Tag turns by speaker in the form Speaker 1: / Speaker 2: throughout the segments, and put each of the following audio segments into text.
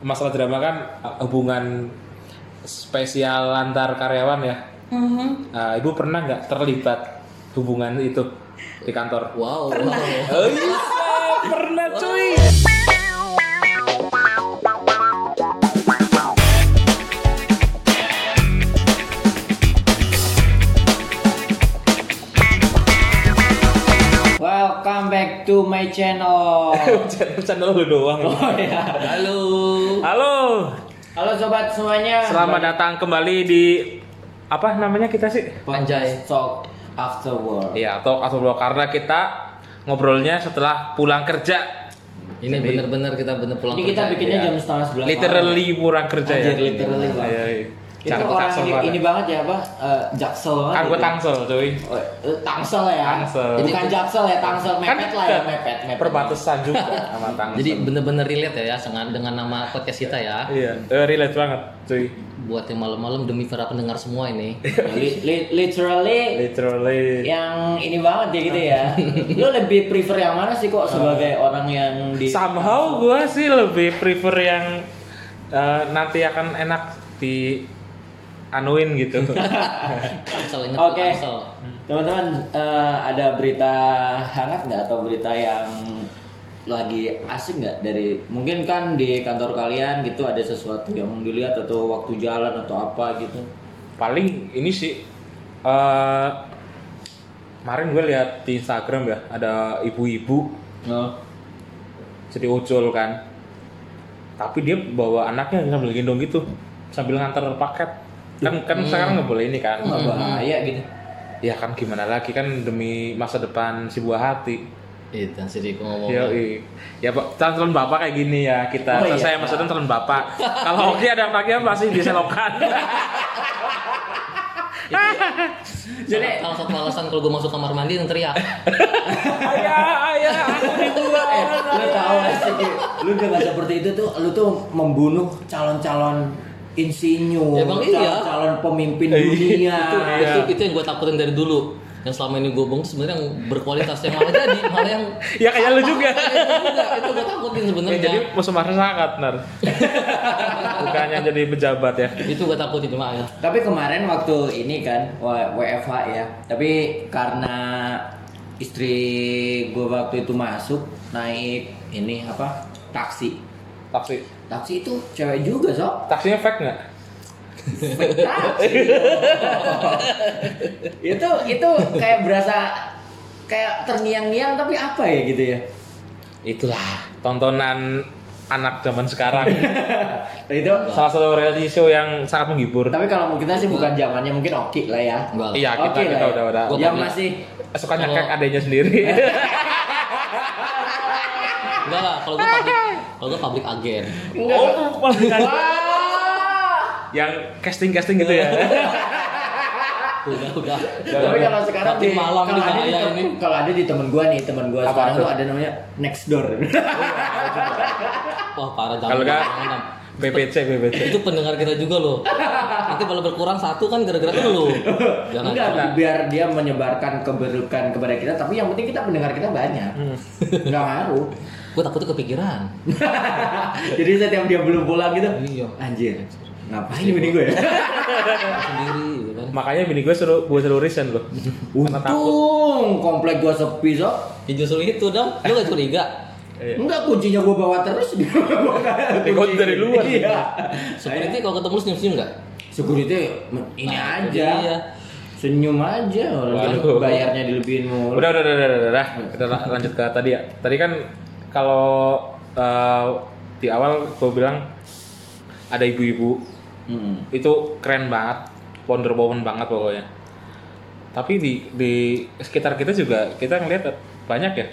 Speaker 1: masalah drama kan hubungan spesial antar karyawan ya.
Speaker 2: Mm-hmm.
Speaker 3: Mhm.
Speaker 1: Nah, ibu pernah nggak terlibat hubungan itu di kantor?
Speaker 2: Wow. wow.
Speaker 1: Oh iya, pernah cuy.
Speaker 2: Welcome back to my channel.
Speaker 1: Channel- Channel lu doang.
Speaker 2: Oh ya. Halo.
Speaker 1: Halo,
Speaker 2: Halo sobat semuanya.
Speaker 1: selamat datang kembali di apa namanya kita sih?
Speaker 2: Panjai Talk After Work.
Speaker 1: Iya, talk atau blog karena kita ngobrolnya setelah pulang kerja.
Speaker 4: Ini benar-benar kita benar pulang
Speaker 2: Ini kita
Speaker 4: kerja.
Speaker 2: bikinnya
Speaker 1: iya.
Speaker 2: jam setengah sebelas.
Speaker 1: Literally pulang kerja ya.
Speaker 2: Anjir, literally,
Speaker 1: Iya,
Speaker 2: Bang.
Speaker 1: iya.
Speaker 2: malam. Itu
Speaker 1: Cari
Speaker 2: orang
Speaker 1: tangsel
Speaker 2: ini,
Speaker 1: banget.
Speaker 2: ini banget ya apa? Eh, jaksel banget.
Speaker 1: Kan gue
Speaker 2: gitu.
Speaker 1: tangsel cuy.
Speaker 2: Oh, eh, tangsel ya.
Speaker 1: Tangsel.
Speaker 2: Bukan jaksel ya, tangsel
Speaker 1: Kan
Speaker 2: mepet lah ya,
Speaker 1: ke-
Speaker 2: mepet, mepet.
Speaker 1: Perbatasan juga sama tangsel.
Speaker 4: Jadi benar-benar relate ya, ya dengan, dengan nama podcast kita ya.
Speaker 1: Iya, eh, relate banget, cuy.
Speaker 4: Buat yang malam-malam demi para pendengar semua ini.
Speaker 2: Li- li- literally
Speaker 1: Literally.
Speaker 2: yang ini banget ya gitu ya. Lu lebih prefer yang mana sih kok sebagai orang yang di
Speaker 1: Somehow gue sih lebih prefer yang eh, nanti akan enak di anuin gitu.
Speaker 4: Tangsel ingat
Speaker 2: Oke,
Speaker 4: Tangsel.
Speaker 2: teman-teman eh, ada berita hangat nggak atau berita yang lagi asik nggak dari mungkin kan di kantor kalian gitu ada sesuatu yang dilihat atau waktu jalan atau apa gitu.
Speaker 1: Paling ini sih eh kemarin gue lihat di Instagram ya ada ibu-ibu
Speaker 4: Ya.
Speaker 2: No.
Speaker 1: jadi ojol kan. Tapi dia bawa anaknya sambil gendong gitu, sambil nganter paket. Kan kan sekarang nggak boleh ini kan.
Speaker 2: Nggak bahaya gitu.
Speaker 1: Ya kan gimana lagi kan demi masa depan si buah hati.
Speaker 4: Itu yang sih Riko ngomong.
Speaker 1: Yo, ya Pak, calon bapak kayak gini ya kita.
Speaker 2: Oh, iya.
Speaker 1: Saya maksudnya calon bapak. Kalau hoki ada anaknya pasti diselokan.
Speaker 4: Jadi salah satu alasan kalau gue masuk kamar mandi yang teriak.
Speaker 1: Ayah, ayah, aku
Speaker 2: Eh,
Speaker 1: dibuang.
Speaker 2: lu tahu gak sih, Ki? lu udah nggak seperti itu tuh, lu tuh membunuh calon-calon insinyur,
Speaker 4: Ya, Bang, iya. Eh,
Speaker 2: calon-calon pemimpin dunia.
Speaker 4: itu,
Speaker 1: Iya.
Speaker 4: itu, itu yang gue takutin dari dulu. Yang selama ini gue bong tuh sebenarnya yang berkualitas yang malah jadi malah yang
Speaker 1: Ya kayak lu juga.
Speaker 4: enggak itu gue takutin
Speaker 1: Ya,
Speaker 4: sebenarnya.
Speaker 1: jadi musuh masyarakat nar. Bukannya jadi pejabat ya.
Speaker 4: itu gue takutin cuma ya.
Speaker 2: Tapi kemarin waktu ini kan W- WFH ya. Tapi karena istri gue waktu itu masuk naik ini apa taksi.
Speaker 1: Taksi.
Speaker 2: Taksi itu cewek juga sob.
Speaker 1: Taksinya fake nggak?
Speaker 2: Fake taksi.
Speaker 1: Iya.
Speaker 2: itu itu kayak berasa kayak terngiang-ngiang tapi apa ya gitu ya.
Speaker 1: Itulah tontonan anak zaman sekarang. Nah,
Speaker 2: Itu
Speaker 1: Salah satu reality show yang sangat menghibur.
Speaker 2: tapi kalau kita sih bukan zamannya mungkin oke lah ya.
Speaker 4: Enggak. lah.
Speaker 1: Iya, kita
Speaker 2: Oke lah
Speaker 1: kita
Speaker 2: ya.
Speaker 1: udah udah.
Speaker 4: Gua
Speaker 2: Yang
Speaker 4: pernah-
Speaker 2: masih
Speaker 1: Suka
Speaker 4: Kalau-
Speaker 1: nyakek adanya sendiri.
Speaker 4: Enggak lah kalau gue public kalau gue public agent.
Speaker 1: Oh, bukan. yang casting casting gitu ya
Speaker 4: Udah udah.
Speaker 2: Tapi kalau sekarang
Speaker 4: Nanti malam
Speaker 2: kalau
Speaker 4: nih
Speaker 2: ada
Speaker 4: bahaya
Speaker 2: di-
Speaker 4: ini.
Speaker 2: Kalau ada di temen gua nih, temen gua
Speaker 1: Apa
Speaker 2: sekarang
Speaker 1: tuh?
Speaker 2: tuh ada namanya next door.
Speaker 4: Wah parah jangan.
Speaker 1: kalau nggak
Speaker 4: jangan, jangan.
Speaker 1: BBC BBC
Speaker 4: itu pendengar kita juga loh. Nanti kalau berkurang satu kan gara-gara lu. Jangan.
Speaker 2: Enggak, biar dia menyebarkan keburukan kepada kita, tapi yang penting kita pendengar kita banyak. Enggak ngaruh.
Speaker 4: Gue takutnya kepikiran.
Speaker 2: Jadi setiap dia belum pulang gitu,
Speaker 4: Iya.
Speaker 2: anjir. Ngapain ini gue ya?
Speaker 4: Sendiri gitu kan.
Speaker 1: makanya bini gue suruh gue suruh resign loh Karena takut.
Speaker 2: Untung komplek gua sepi sob.
Speaker 4: Ya justru itu dong. Lu gak curiga.
Speaker 2: Enggak kuncinya gua bawa terus dia bawa
Speaker 1: Dikunci dari luar.
Speaker 2: Iya. Saya
Speaker 4: Security kalau ketemu lu senyum-senyum gak?
Speaker 2: security ini
Speaker 4: Nah, itu
Speaker 2: aja.
Speaker 4: dia.
Speaker 2: Senyum aja orang
Speaker 1: Waduh.
Speaker 2: bayarnya dilebihin mulu.
Speaker 1: udah udah udah udah udah, udah. Kita la- lanjut ke tadi ya tadi kan kalau eh, di awal gue bilang ada ibu-ibu
Speaker 2: Hmm.
Speaker 1: itu keren banget wonder woman banget pokoknya tapi di di sekitar kita juga kita ngeliat banyak ya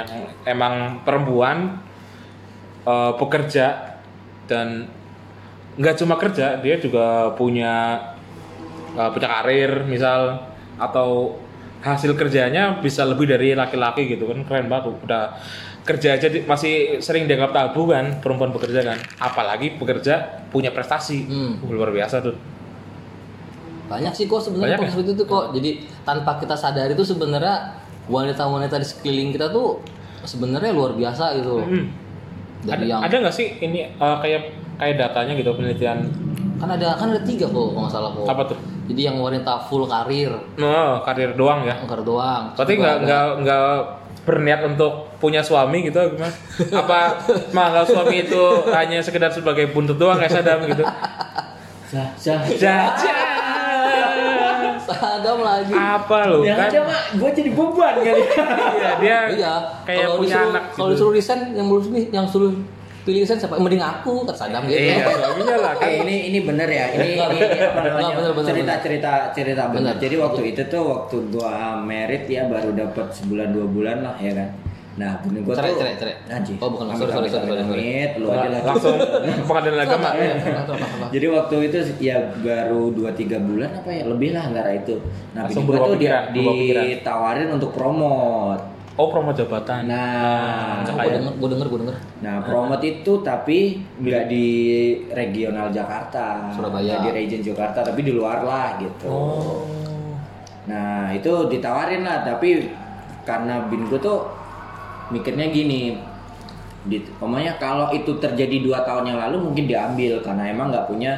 Speaker 1: yang emang perempuan eh, pekerja dan nggak cuma kerja dia juga punya eh, punya karir misal atau hasil kerjanya bisa lebih dari laki-laki gitu kan keren banget udah kerja aja di- masih sering dianggap tabu kan perempuan bekerja kan apalagi pekerja punya prestasi
Speaker 4: Hmm.
Speaker 1: luar biasa tuh
Speaker 4: Banyak sih kok
Speaker 1: Banyak
Speaker 4: sebenarnya kok
Speaker 1: ya?
Speaker 4: seperti itu kok. Jadi tanpa kita sadari tuh sebenarnya wanita-wanita di sekeliling kita tuh sebenarnya luar biasa gitu loh. dari yang
Speaker 1: ada ada nggak sih ini eh, kayak kayak datanya gitu penelitian
Speaker 4: kan ada kan ada tiga kok kalau nggak salah kok
Speaker 1: apa tuh?
Speaker 4: jadi yang wanita full karir
Speaker 1: No, karir doang ya.
Speaker 4: angker doang
Speaker 1: Berarti nggak nggak nggak berniat untuk punya suami gitu gimana? Apa manggil suami itu hanya sekedar sebagai buntut doang kayak Saddam gitu?
Speaker 2: Sah, sah.
Speaker 1: Jajan.
Speaker 4: sadam lagi
Speaker 1: Apa lu
Speaker 2: Ya
Speaker 1: kan?
Speaker 2: aja mak, gue jadi beban
Speaker 4: kan?
Speaker 2: kali.
Speaker 1: Iya, dia
Speaker 4: iya
Speaker 1: kayak
Speaker 4: kalau
Speaker 1: punya
Speaker 4: disuruh,
Speaker 1: anak
Speaker 4: kalau
Speaker 1: gitu.
Speaker 4: disuruh resign yang belum nih yang suruh pilih resign siapa mending aku kata sadam gitu
Speaker 1: Iya, suaminya lah kan.
Speaker 2: Eh, ini ini bener ya. Ini
Speaker 4: Enggak,
Speaker 2: ini, ini apa
Speaker 4: enggak,
Speaker 2: namanya?
Speaker 4: bener, bener,
Speaker 2: cerita cerita cerita bener.
Speaker 4: Bener.
Speaker 2: Jadi waktu itu tuh waktu gua merit ya baru dapat sebulan dua bulan lah ya kan. Nah, bini gua
Speaker 4: Cerai,
Speaker 2: tuh
Speaker 4: cerai, cerai.
Speaker 2: Anjir.
Speaker 4: Oh, bukan. Sorry, sorry, sorry, sorry, sorry.
Speaker 2: Amit, lu aja lah.
Speaker 1: langsung pengadilan agama.
Speaker 4: Iya,
Speaker 2: Jadi waktu itu ya baru 2-3 bulan apa ya lebih lah antara itu. Nah, bini
Speaker 1: Langsung
Speaker 2: gua
Speaker 1: berubah
Speaker 2: tuh dia
Speaker 1: pikiran, berubah pikiran.
Speaker 2: ditawarin untuk promote.
Speaker 1: Oh, promo jabatan.
Speaker 2: Nah,
Speaker 4: gue
Speaker 1: Iya.
Speaker 4: denger gue denger gue denger
Speaker 2: Nah, promote itu tapi nggak di regional Jakarta,
Speaker 4: Surabaya.
Speaker 2: nggak di region Jakarta, tapi di luar lah gitu.
Speaker 1: Oh.
Speaker 2: Nah, itu ditawarin lah, tapi karena bin gue tuh mikirnya gini, di, pokoknya kalau itu terjadi dua tahun yang lalu mungkin diambil karena emang nggak punya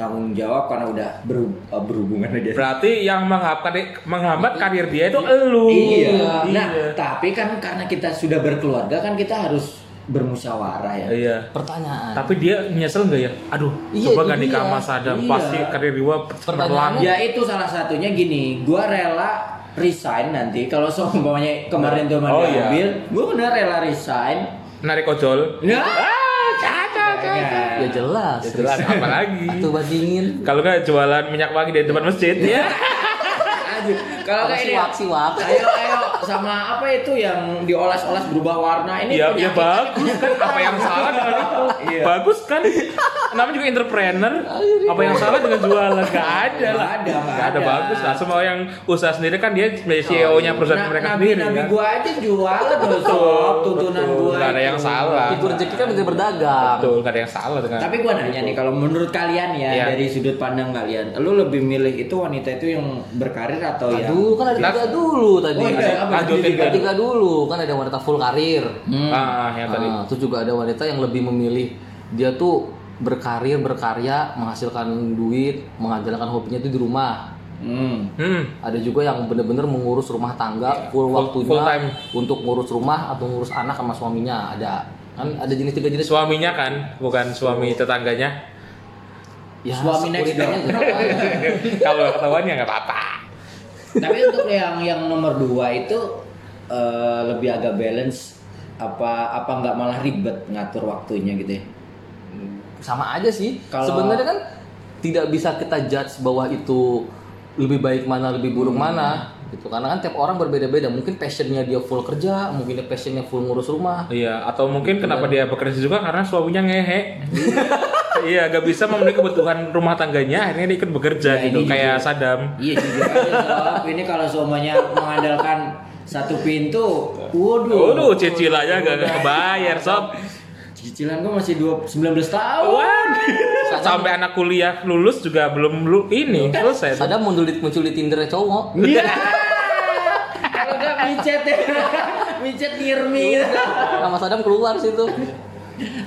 Speaker 2: tanggung jawab karena udah beru- eh, berhubungan aja.
Speaker 1: Berarti yang menghambat menghambat karir dia itu elu.
Speaker 2: Iya. Nah,
Speaker 1: Iya.
Speaker 2: tapi kan karena kita sudah berkeluarga kan kita harus bermusyawarah ya.
Speaker 1: Iya.
Speaker 4: pertanyaan
Speaker 1: Tapi dia nyesel nggak ya? Aduh,
Speaker 4: Iya,
Speaker 1: coba gak
Speaker 4: itu
Speaker 1: nikah
Speaker 4: dia.
Speaker 1: sama Sadam
Speaker 2: Iya.
Speaker 1: pasti karir gua
Speaker 4: Pertanyaannya-
Speaker 1: terbelang.
Speaker 2: Ya itu salah satunya gini, gua rela resign nanti kalau seumpamanya kemarin tuh
Speaker 1: Oh,
Speaker 2: mau
Speaker 1: iya.
Speaker 2: diambil, gua bener rela resign.
Speaker 1: Narik ojol.
Speaker 2: Ya,
Speaker 1: Iya,
Speaker 4: ya jelas
Speaker 1: Ya jelas apa lagi?
Speaker 4: Atuh bah dingin
Speaker 1: Kalau nggak jualan minyak wangi di depan masjid. Iya.
Speaker 2: Aduh, kalau
Speaker 4: Apa
Speaker 2: kayak ini
Speaker 4: siwak siwak
Speaker 2: Ayo, ayo, sama apa itu yang diolas-olas berubah warna ini?
Speaker 1: Iya, ya
Speaker 2: penyakit.
Speaker 1: bagus kan apa yang salah dengan itu?
Speaker 2: Iya.
Speaker 1: Bagus kan? Namanya juga entrepreneur. Apa yang salah dengan jualan? Gak ada lah.
Speaker 2: iya. Nggak ada, nggak
Speaker 1: Nggak ada.
Speaker 2: ada.
Speaker 1: Bagus lah. Semua yang usaha sendiri kan dia CEO-nya perusahaan
Speaker 2: Nah,
Speaker 1: mereka
Speaker 2: nabi,
Speaker 1: sendiri.
Speaker 2: nabi
Speaker 1: kan?
Speaker 2: gua aja jualan loh, sob, tuntunan
Speaker 1: Betul,
Speaker 2: gua.
Speaker 1: nggak ada
Speaker 2: itu.
Speaker 1: yang salah.
Speaker 4: itu rezeki kan bisa berdagang
Speaker 1: Betul, gak ada yang salah dengan.
Speaker 2: Tapi gua nanya nih kalau menurut kalian ya
Speaker 1: Iya.
Speaker 2: dari sudut pandang kalian, lu lebih milih itu wanita itu yang berkarir atau yang
Speaker 4: aduh kan ada tiga
Speaker 1: Nah.
Speaker 4: dulu tadi
Speaker 2: Oh, iya, apa?
Speaker 1: Lanjutin
Speaker 4: Ada
Speaker 1: tadi.
Speaker 4: tiga dulu kan ada wanita full karir
Speaker 2: Hmm.
Speaker 1: Ah, yang tadi.
Speaker 4: Ah, terus juga ada wanita yang lebih memilih dia tuh berkarir berkarya menghasilkan duit mengandalkan hobinya itu di rumah
Speaker 2: Hmm.
Speaker 1: Hmm.
Speaker 4: ada juga yang bener-bener mengurus rumah tangga full,
Speaker 1: full-
Speaker 4: waktunya
Speaker 1: full time.
Speaker 4: untuk ngurus rumah atau ngurus anak sama suaminya ada kan ada jenis tiga jenis
Speaker 1: Suaminya kan, bukan suami tetangganya.
Speaker 4: ya
Speaker 2: Suami next
Speaker 4: sekuritasnya
Speaker 2: door.
Speaker 4: berapa?
Speaker 1: Kalau ketahuan ya nggak apa-apa.
Speaker 2: Tapi untuk yang yang nomor dua itu eh, lebih agak balance apa apa nggak malah ribet ngatur waktunya gitu ya.
Speaker 4: sama aja sih
Speaker 2: Kalau-
Speaker 4: sebenarnya kan tidak bisa kita judge bahwa itu lebih baik mana lebih buruk mana gitu karena kan tiap orang berbeda-beda mungkin passionnya dia full kerja mungkin dia passionnya full ngurus rumah
Speaker 1: Iya, atau mungkin kenapa dia bekerja juga karena suaminya ngehe. iya, gak bisa memenuhi kebutuhan rumah tangganya, akhirnya dia ikut bekerja
Speaker 2: Ya,
Speaker 1: gitu,
Speaker 2: ini
Speaker 1: kayak
Speaker 2: juga.
Speaker 1: Sadam.
Speaker 2: Iya jujur aja sob. ini kalau semuanya mengandalkan satu pintu, waduh.
Speaker 1: Waduh, cicil aja gak kebayar, sob.
Speaker 2: Cicilan gua masih 2, 19 tahun.
Speaker 1: Wan, sampai anak kuliah lulus juga belum lu ini selesai.
Speaker 4: Sadam muncul di, muncul di Tinder
Speaker 1: Nah.
Speaker 4: cowok.
Speaker 2: Iya. Kalau nggak micet ya. micet nirmi.
Speaker 4: Nama Sadam keluar situ.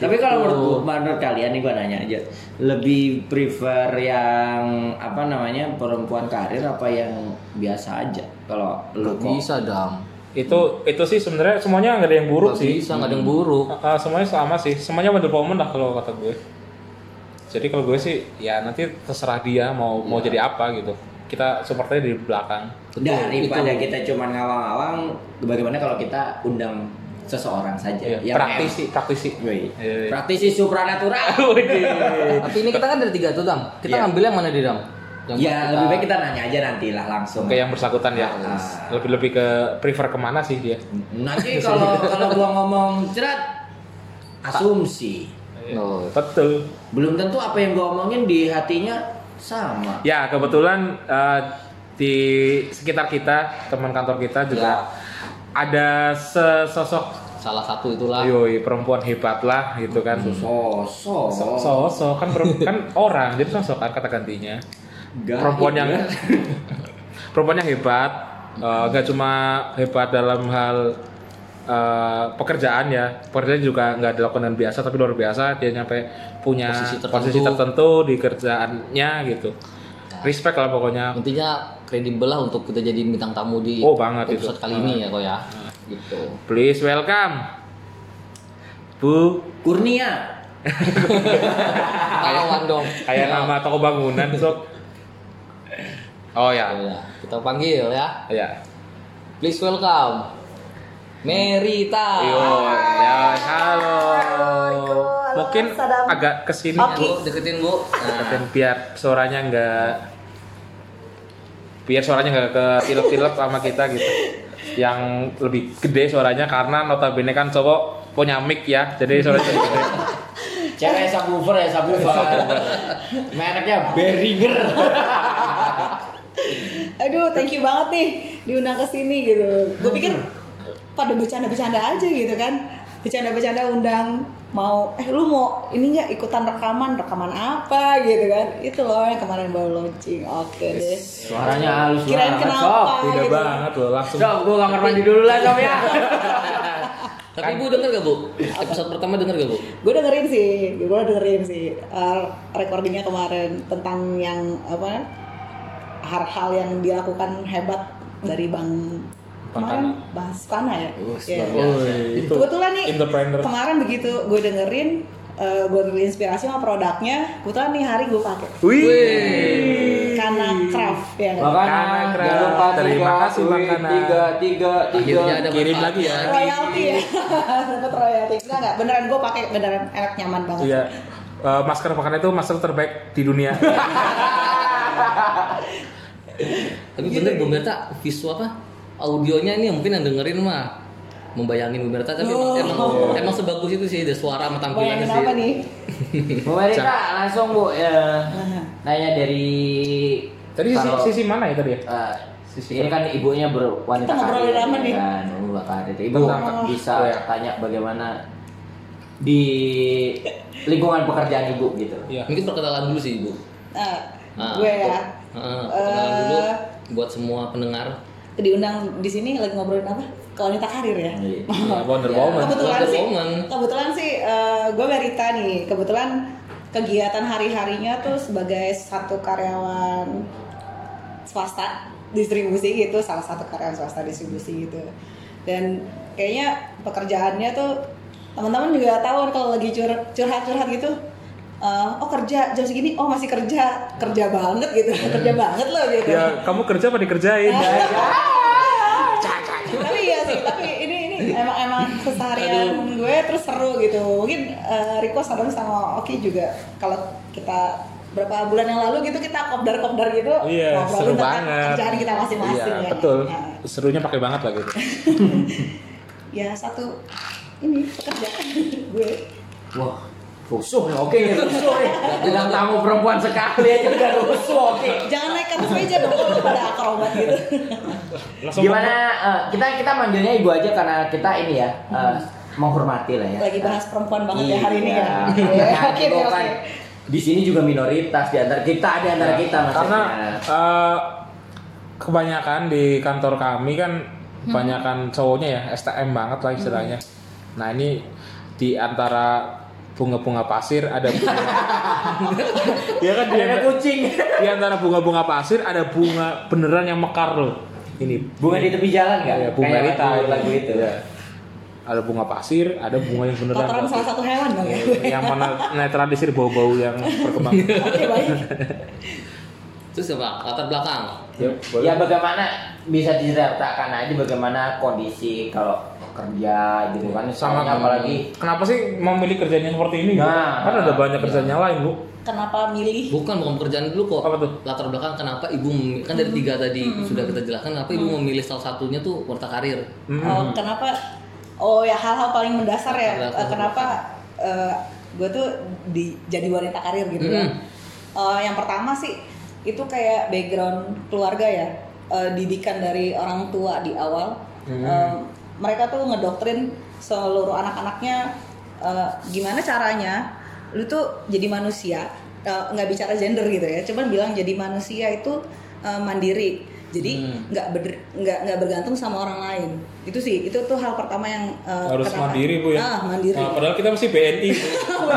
Speaker 2: Tapi kalau menurut gua- menurut kalian nih gua nanya aja, lebih prefer yang apa namanya perempuan karir apa yang biasa aja? Kalau lu
Speaker 4: Gak
Speaker 2: kok
Speaker 4: bisa Dam.
Speaker 1: Itu itu sih sebenarnya semuanya nggak ada yang buruk
Speaker 4: Gak
Speaker 1: sih.
Speaker 4: bisa, gak ada yang buruk.
Speaker 1: Uh, semuanya sama sih, semuanya Wonder Woman lah kalau kata gue. Jadi kalau gue sih ya nanti terserah dia mau mau jadi apa gitu. Kita supportnya di belakang.
Speaker 4: Betul,
Speaker 2: daripada
Speaker 4: itu.
Speaker 2: kita cuman ngawang-ngawang, bagaimana kalau kita undang seseorang saja
Speaker 1: Iya, praktisi, praktisi.
Speaker 2: Woi,
Speaker 1: Iya, iya.
Speaker 2: praktisi supranatural.
Speaker 4: Tapi ini kita kan dari tiga tuh Dam. Kita
Speaker 2: Iya.
Speaker 4: ngambil yang mana di Dam? Yang
Speaker 2: ya
Speaker 4: kita-
Speaker 2: lebih baik kita nanya aja nantilah langsung.
Speaker 1: Ke yang bersangkutan ya. Lebih lebih ke prefer kemana sih dia?
Speaker 2: Nanti kalau kalau gua ngomong cerat asumsi.
Speaker 1: Oh.
Speaker 4: No.
Speaker 1: Betul.
Speaker 2: Belum tentu apa yang gua omongin di hatinya sama.
Speaker 1: Ya kebetulan eh, di sekitar kita teman kantor kita juga ada sesosok
Speaker 4: Salah satu itulah.
Speaker 1: yoi perempuan hebat lah gitu kan.
Speaker 2: Sosok.
Speaker 1: So- Sosok kan per- kan orang jadi sosok kan kata gantinya.
Speaker 2: Gaib,
Speaker 1: perempuan yang
Speaker 2: ya.
Speaker 1: perempuan yang hebat eh, nggak cuma hebat dalam hal eh, pekerjaannya pekerjaan juga nggak dilakukan dengan biasa tapi luar biasa dia nyampe punya
Speaker 4: Posisi
Speaker 1: posisi
Speaker 4: tertentu.
Speaker 1: tertentu, di kerjaannya gitu respect lah pokoknya
Speaker 4: Intinya kredibel lah untuk kita jadi bintang tamu di
Speaker 1: Oh, banget itu. Iya.
Speaker 4: episode kali ini ya kok ya. Gitu.
Speaker 1: please welcome Bu
Speaker 2: Kurnia
Speaker 4: Pahlawan dong.
Speaker 1: kayak nama toko bangunan sok oh ya
Speaker 4: Ya, kita panggil ya.
Speaker 1: ya
Speaker 4: Please welcome Merita.
Speaker 1: Yo, ya halo mungkin
Speaker 3: Salam.
Speaker 1: agak kesini
Speaker 3: Oke.
Speaker 4: Bu, deketin Bu. Nah,
Speaker 1: dan biar suaranya nggak biar suaranya nggak ke tilep sama kita gitu yang lebih gede suaranya karena notabene kan cowok punya mic ya jadi suaranya lebih gede
Speaker 2: Cewek subwoofer ya subwoofer Mereknya Behringer
Speaker 3: aduh thank you banget nih diundang ke sini gitu gue pikir pada bercanda-bercanda aja gitu kan bercanda-bercanda undang mau eh lu mau ini nggak ikutan rekaman rekaman apa gitu kan itu loh yang kemarin baru launching oke deh
Speaker 2: Suaranya halus
Speaker 3: Kirain
Speaker 2: banget
Speaker 3: kenapa?
Speaker 2: Sob
Speaker 1: beda
Speaker 3: gitu.
Speaker 1: banget loh langsung
Speaker 2: Sob gue kamar mandi dulu lah Sob ya
Speaker 4: tapi
Speaker 1: Kan-
Speaker 4: Ibu denger gak Bu? Episode pertama denger gak Bu?
Speaker 1: Iya.
Speaker 3: gue dengerin sih gue dengerin sih eh, recordingnya kemarin tentang yang apa hal-hal yang dilakukan hebat dari bang kemarin bang Sukana ya Iya.
Speaker 1: Woi, itu
Speaker 3: Kebetulan nih
Speaker 1: entrepreneur
Speaker 3: kemarin begitu gue dengerin eh, gue terinspirasi sama produknya kebetulan nih hari gue pakai
Speaker 1: wih
Speaker 3: karena craft ya kan?
Speaker 1: Karena
Speaker 2: Makanya
Speaker 1: keren.
Speaker 2: jangan lupa
Speaker 1: Terima
Speaker 2: tiga,
Speaker 1: kasih,
Speaker 2: duit,
Speaker 1: Lakana.
Speaker 2: Tiga, tiga, tiga
Speaker 4: Akhirnya ada
Speaker 1: Kirim
Speaker 4: manfaat.
Speaker 1: lagi ya.
Speaker 3: royalti ya dapat royalti enggak enggak beneran gue pakai beneran enak nyaman banget
Speaker 1: iya Eh, masker pakan itu masker terbaik di dunia
Speaker 4: Tapi bener Bu Merita visual apa? Audionya ini mungkin yang dengerin mah membayangin Bu Merita tapi emang, emang, emang sebagus itu sih ada suara sama tampilannya
Speaker 3: Oh. bayangin
Speaker 4: sih.
Speaker 3: apa nih
Speaker 2: Bu Merita langsung Bu ya. Nanya dari
Speaker 1: tadi sisi,
Speaker 2: kalau-
Speaker 1: sisi mana ya tadi ya
Speaker 2: Eh, ini kan ibunya berwanita
Speaker 3: Kita ngobrolin apa nih?
Speaker 2: kan berwanita karir. Ibu kan
Speaker 1: Tentang-
Speaker 2: bisa
Speaker 1: Oh, ya.
Speaker 2: tanya bagaimana di lingkungan pekerjaan ibu gitu
Speaker 1: Iya.
Speaker 4: Mungkin perkenalan dulu sih Ibu.
Speaker 3: Nah,
Speaker 4: Nah,
Speaker 3: gue ya
Speaker 4: Heeh, perkenalan
Speaker 3: Eh.
Speaker 4: dulu buat semua pendengar.
Speaker 3: diundang di sini lagi ngobrolin apa ke wanita karir ya
Speaker 2: Iya.
Speaker 1: Ya, Wonder Woman
Speaker 3: kebetulan
Speaker 4: Wonder
Speaker 3: sih
Speaker 4: Woman.
Speaker 3: kebetulan sih eh, gue Merita nih kebetulan kegiatan hari-harinya tuh sebagai satu karyawan swasta distribusi gitu salah satu karyawan swasta distribusi gitu dan kayaknya pekerjaannya tuh teman-teman juga tahu kan kalau lagi cur- curhat-curhat gitu eh, oh kerja jam segini oh masih kerja kerja banget gitu kerja banget loh gitu
Speaker 1: ya kamu kerja apa dikerjain
Speaker 3: Eh, tapi iya sih tapi ini ini emang emang keseharian gue terus seru gitu mungkin eh, Riko sadar sama Oki juga kalau kita berapa bulan yang lalu gitu kita kopdar-kopdar gitu
Speaker 1: Iya,
Speaker 3: ngobrolin
Speaker 1: seru
Speaker 3: tentang
Speaker 1: banget.
Speaker 3: kerjaan kita masing-masing ya
Speaker 1: Iya,
Speaker 3: kan?
Speaker 1: betul.
Speaker 3: Nah,
Speaker 1: Serunya pakai banget lah gitu.
Speaker 3: ya satu ini pekerjaan gue
Speaker 2: wah rusuh nih oke nih rusuh nih dengan tamu perempuan sekali aja udah rusuh oke
Speaker 3: jangan naik ke atas meja dong kalau pada akrobat gitu
Speaker 1: Langsung
Speaker 2: gimana eh, kita kita manggilnya ibu aja karena kita ini ya eh, menghormati lah ya
Speaker 3: Hmm. lagi bahas perempuan banget ya hari ini
Speaker 2: Iya.
Speaker 3: ya
Speaker 2: Nah,
Speaker 3: oke
Speaker 2: ibu
Speaker 3: oke
Speaker 2: kan
Speaker 3: oke
Speaker 1: iya.
Speaker 2: di sini juga minoritas di antara kita di antara
Speaker 3: Iya.
Speaker 2: kita
Speaker 1: karena
Speaker 2: maksudnya.
Speaker 1: eh, kebanyakan di kantor kami kan
Speaker 3: Hmm.
Speaker 1: kebanyakan cowoknya ya STM banget lah istilahnya. Nah ini di antara bunga-bunga pasir ada bunga. ya kan di,
Speaker 2: ada
Speaker 1: antara-
Speaker 2: kucing
Speaker 1: di antara bunga-bunga pasir ada bunga beneran yang mekar loh. Ini
Speaker 2: bunga di tepi jalan nggak
Speaker 1: ya, bunga
Speaker 2: Kayak
Speaker 1: Rita
Speaker 2: lagu, lagu itu
Speaker 1: Iya. Ada bunga pasir, ada bunga yang beneran.
Speaker 3: kotoran salah satu hewan dong ya gue
Speaker 1: yang mana netralisir bau-bau yang berkembang.
Speaker 3: oke baik
Speaker 4: Terus apa? Latar belakang.
Speaker 1: Ya, boleh.
Speaker 2: ya bagaimana bisa diceritakan aja bagaimana kondisi kalau kerja gitu
Speaker 1: Iya,
Speaker 2: kan
Speaker 1: sama
Speaker 2: soalnya apalagi
Speaker 1: kenapa sih memilih kerjanya seperti ini Bu?
Speaker 2: Nah.
Speaker 1: kan ada banyak kerjanya lain bu
Speaker 3: kenapa milih
Speaker 4: Bukan bukan pekerjaan dulu kok.
Speaker 1: Apa tuh?
Speaker 4: Latar belakang kenapa Ibu mem- kan dari
Speaker 3: Mm-hmm.
Speaker 4: tiga tadi sudah kita jelaskan kenapa Ibu memilih salah satunya tuh warta karir.
Speaker 1: Hmm.
Speaker 3: Oh, kenapa? Oh ya hal-hal paling mendasar ya.
Speaker 4: Hal-hal
Speaker 3: Eh, Kenapa gue tuh di, jadi wanita karir gitu kan?
Speaker 4: Mm.
Speaker 1: Mm-hmm.
Speaker 3: Eh, yang pertama sih itu kayak background keluarga ya, Eh, didikan dari orang tua di awal.
Speaker 1: Mm-hmm.
Speaker 3: Eh, mereka tuh ngedoktrin seluruh anak-anaknya eh, gimana caranya lu tuh jadi manusia Eh, nggak bicara gender gitu ya, cuman bilang jadi manusia itu eh, mandiri Jadi
Speaker 1: Mm-hmm.
Speaker 3: nggak ber- nggak nggak bergantung sama orang lain. Itu sih itu tuh hal pertama yang uh,
Speaker 1: harus
Speaker 3: kenapa-
Speaker 1: mandiri bu ya.
Speaker 3: Ah, mandiri.
Speaker 1: Nah, padahal kita masih BNI. Bu.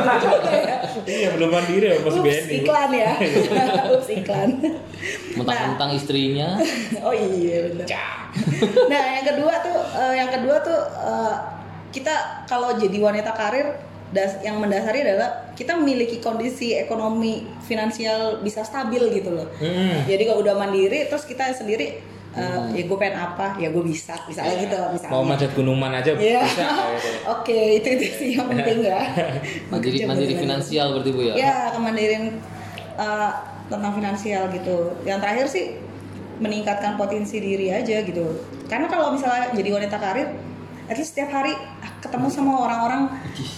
Speaker 1: iya belum mandiri ya masih
Speaker 3: Ups,
Speaker 1: BNI. Bu.
Speaker 3: iklan ya. Ups, iklan. Nah.
Speaker 4: mentang-mentang istrinya
Speaker 3: Oh iya benar. nah yang kedua tuh eh, yang kedua tuh eh, kita kalau jadi wanita karir das- yang mendasari adalah kita memiliki kondisi ekonomi finansial bisa stabil gitu loh.
Speaker 1: Mm-mm.
Speaker 3: Jadi kalau udah mandiri terus kita sendiri eh, ya gue pengen apa ya gue bisa misalnya gitu misalnya.
Speaker 1: Hmm. Iya. Mau manjat gunungan aja bu.
Speaker 3: Iya.
Speaker 1: bisa. kayak gitu.
Speaker 3: Oke itu itu sih yang penting ya.
Speaker 4: mandiri
Speaker 3: Kerja
Speaker 4: mandiri
Speaker 3: buat
Speaker 4: finansial berarti bu ya
Speaker 3: ya kemandirian eh, tentang finansial gitu yang terakhir sih meningkatkan potensi diri aja gitu karena kalau misalnya jadi wanita karir at least setiap hari ah, ketemu sama orang-orang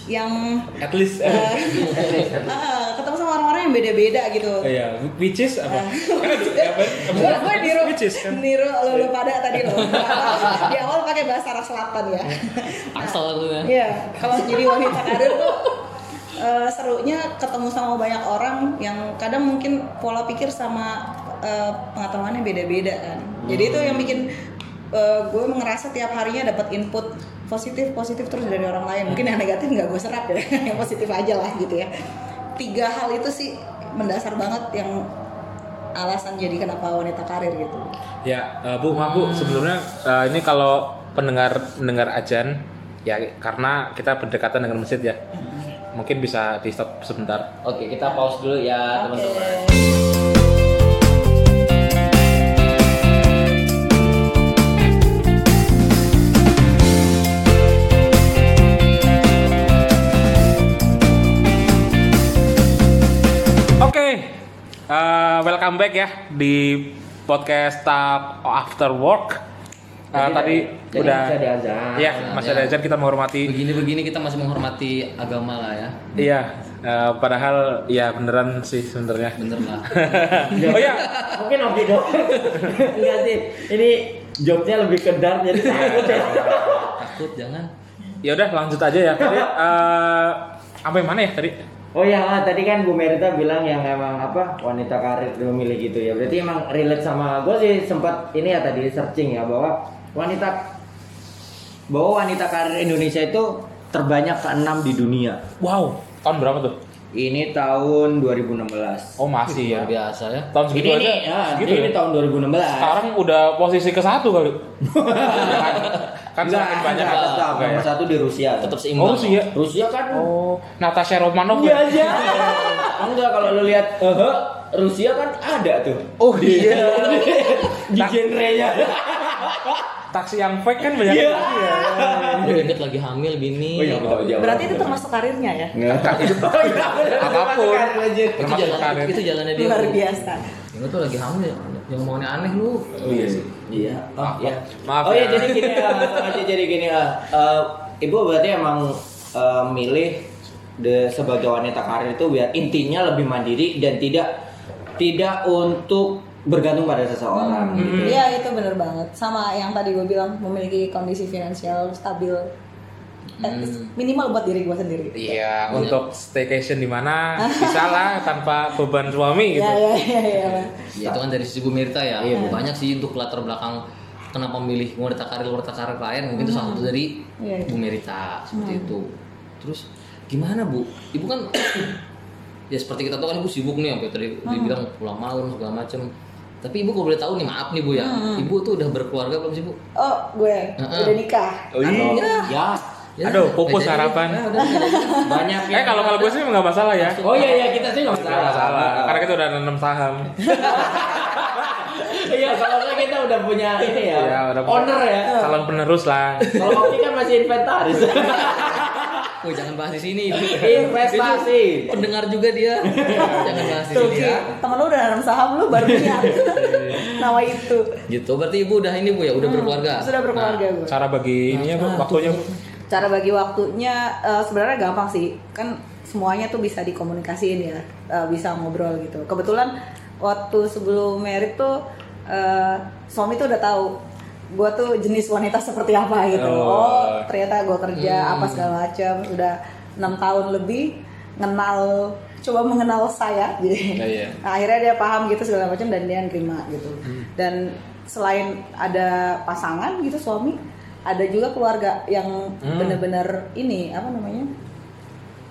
Speaker 3: yang
Speaker 1: At least. eh,
Speaker 3: eh, ketemu sama orang-orang yang beda-beda gitu
Speaker 1: Iya, which is apa?
Speaker 3: Eh.
Speaker 1: Kan ada- apa- apa-
Speaker 3: gue gue niru
Speaker 1: Which is kan.
Speaker 3: niru lo lo pada tadi lo di awal pakai bahasa Arab Selatan ya
Speaker 1: Eh.
Speaker 4: asal tuh ya
Speaker 3: Iya, kalau jadi wanita karir tuh eh, serunya ketemu sama banyak orang yang kadang mungkin pola pikir sama eh, pengetahuannya beda-beda kan. Jadi itu yang bikin eh, gue ngerasa tiap harinya dapat input positif positif terus dari orang lain. Mungkin yang negatif nggak gue serap ya, yang positif aja lah gitu ya. Tiga hal itu sih mendasar banget yang alasan jadi kenapa wanita karir gitu.
Speaker 1: Ya, eh, Bu, maaf
Speaker 3: Hmm.
Speaker 1: Bu, sebelumnya eh, ini kalau pendengar mendengar ajan ya karena kita berdekatan dengan masjid ya.
Speaker 3: Hmm.
Speaker 1: Mungkin bisa di stop sebentar.
Speaker 2: Oke, kita pause dulu ya, teman-teman.
Speaker 1: Oke. eh, welcome back ya di podcast Talk After Work. Eh,
Speaker 2: Jadi-
Speaker 1: tadi
Speaker 2: jadi
Speaker 1: udah
Speaker 2: masih ada azan. Iya.
Speaker 1: Iya, masih ada azan kita menghormati
Speaker 4: begini-begini kita masih menghormati agama lah ya
Speaker 1: Iya, eh, padahal ya beneran sih sebenarnya.
Speaker 4: bener lah
Speaker 2: Iya.
Speaker 1: oh ya,
Speaker 2: Mungkin oke dong. Enggak sih. Ini joknya lebih kedar jadi takut ya.
Speaker 4: takut jangan
Speaker 1: ya udah lanjut aja ya. Tadi eh, sampai mana ya tadi?
Speaker 2: Oh ya, tadi kan Bu Merita bilang yang emang apa wanita karir memilih gitu ya. Berarti emang relate sama gue sih sempat ini ya tadi searching ya bahwa wanita bahwa wanita karir Indonesia itu terbanyak keenam di dunia.
Speaker 1: Wow, tahun berapa tuh?
Speaker 2: Ini tahun 2016.
Speaker 1: Oh masih ya.
Speaker 4: luar biasa ya
Speaker 1: Tahun
Speaker 2: Iya. ini
Speaker 1: segitu aja.
Speaker 2: nih, ah,
Speaker 1: segitu
Speaker 2: ini
Speaker 1: ya?
Speaker 2: tahun 2016.
Speaker 1: Sekarang udah posisi ke satu kali. kan kan
Speaker 2: Enggak,
Speaker 1: semakin banyak.
Speaker 2: enggak, tetap
Speaker 1: Enggak
Speaker 2: nomor
Speaker 1: ya?
Speaker 2: satu di Rusia.
Speaker 4: tetap
Speaker 1: Oh
Speaker 4: seimbang
Speaker 1: sih ya.
Speaker 2: Rusia kan.
Speaker 1: Oh, Natasha Romanov.
Speaker 2: Iya
Speaker 1: ya?
Speaker 2: iya. enggak kalau lu lihat eh Rusia kan ada tuh.
Speaker 1: Oh iya.
Speaker 2: di genre-nya.
Speaker 1: Taksi yang fake kan banyak.
Speaker 2: Iya.
Speaker 1: lagi ya.
Speaker 4: Aduh, inget lagi hamil bini
Speaker 1: Oh, iya,
Speaker 3: Berarti itu termasuk karirnya ya?
Speaker 2: Enggak.
Speaker 1: Apapun.
Speaker 4: itu
Speaker 1: Termasuk
Speaker 4: jalan
Speaker 1: karir.
Speaker 4: itu jalannya dia
Speaker 3: Luar
Speaker 4: Bu.
Speaker 3: biasa.
Speaker 4: Ya, lu tuh lagi hamil yang maunya aneh lu
Speaker 2: Oh iya sih. Iya. Oh iya.
Speaker 1: Maaf
Speaker 2: Oh iya
Speaker 1: ya.
Speaker 2: jadi gini ya. jadi gini ya. Eh, Ibu berarti emang eh, milih de- sebagai wanita karir itu biar intinya lebih mandiri dan tidak tidak untuk bergantung pada seseorang. gitu.
Speaker 3: Iya itu bener banget sama yang tadi gue bilang memiliki kondisi finansial stabil Eh, minimal buat diri gue sendiri.
Speaker 1: Iya, untuk staycation di mana bisa lah tanpa beban suami gitu.
Speaker 3: Ya ya ya ya.
Speaker 4: Ya, itu kan dari sisi Bu Mirta ya.
Speaker 2: Iya, Bu.
Speaker 4: Banyak sih untuk latar belakang kenapa milih wanita karir wanita karir lain mungkin itu salah satu dari
Speaker 3: Iya, Hmm. iya.
Speaker 4: Bu Mirta seperti itu. Terus gimana Bu? Ibu kan ya seperti kita tahu kan Ibu sibuk nih sampai tadi
Speaker 3: Hmm.
Speaker 4: dibilang pulang malam segala macem Tapi Ibu kalau boleh tahu nih maaf nih Bu ya.
Speaker 3: Hmm.
Speaker 4: Ibu tuh udah berkeluarga belum sih Bu?
Speaker 3: Oh gue
Speaker 4: Heeh.
Speaker 3: udah nikah.
Speaker 1: Oh, iya.
Speaker 2: Ya.
Speaker 1: Aduh, pupus
Speaker 4: jadi.
Speaker 1: harapan.
Speaker 4: Ya, udah, udah, udah.
Speaker 2: Banyak
Speaker 1: Eh
Speaker 4: iya.
Speaker 1: kalau kalau gue sih nggak masalah ya.
Speaker 2: Oh iya iya kita sih
Speaker 1: Nggak
Speaker 2: nggak masalah.
Speaker 1: masalah, karena kita udah nanam saham.
Speaker 2: Iya kalau nggak kita udah punya ini ya.
Speaker 1: Iya, udah punya.
Speaker 2: owner ya.
Speaker 1: Calon penerus lah.
Speaker 2: Kalau kopi kan masih inventaris.
Speaker 4: Woi, jangan bahas di sini. Ibu.
Speaker 2: Investasi.
Speaker 4: Itu Iya, Pendengar juga dia. jangan bahas di
Speaker 3: Tuh
Speaker 4: sini
Speaker 3: Ki,
Speaker 4: ya.
Speaker 3: temen lu udah nanam saham lu baru lihat nama itu.
Speaker 4: Gitu. Berarti Ibu udah ini Bu ya,
Speaker 1: Hmm,
Speaker 4: udah berkeluarga.
Speaker 3: Sudah berkeluarga gue.
Speaker 1: Cara bagi ininya bu, waktunya bu.
Speaker 3: Cara bagi waktunya eh, sebenarnya gampang sih. Kan semuanya tuh bisa dikomunikasiin ya, eh, bisa ngobrol gitu. Kebetulan waktu sebelum merit tuh eh, suami tuh udah tahu gue tuh jenis wanita seperti apa gitu.
Speaker 1: Oh. Hmm.
Speaker 3: Oh, ternyata gue kerja apa segala macam udah enam tahun lebih kenal coba mengenal saya jadi
Speaker 1: Iya, Hmm. iya.
Speaker 3: Nah, akhirnya dia paham gitu segala macam dan dia nerima gitu dan selain ada pasangan gitu suami, ada juga keluarga yang
Speaker 1: Hmm.
Speaker 3: benar-benar ini apa namanya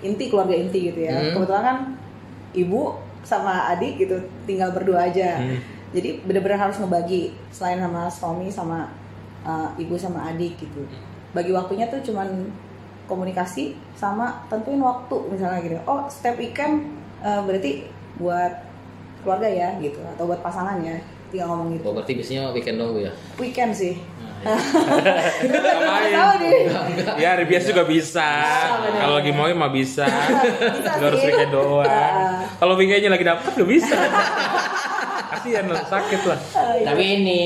Speaker 3: inti keluarga inti gitu ya.
Speaker 4: Hmm.
Speaker 3: Kebetulan kan ibu sama adik gitu tinggal berdua aja.
Speaker 1: Hmm.
Speaker 3: Jadi benar-benar harus ngebagi selain sama suami sama uh, ibu sama adik gitu. Bagi waktunya tuh cuman komunikasi sama tentuin waktu misalnya gitu. Oh, setiap weekend uh, berarti buat keluarga ya gitu atau buat pasangan ya. Tinggal ngomong gitu.
Speaker 4: Oh, berarti biasanya weekend dong Bu, ya?
Speaker 3: Weekend sih.
Speaker 1: Ngapain?
Speaker 3: Tahu nih.
Speaker 1: Ya, hari biasa Iya, juga bisa.
Speaker 3: bener.
Speaker 1: Kalau lagi mau ya mah bisa. Gak harus
Speaker 3: sih.
Speaker 1: weekend
Speaker 3: Heeh.
Speaker 1: doang. Kalau weekendnya lagi dapet gak bisa. Kasihan lo sakit lah.
Speaker 2: Tapi ini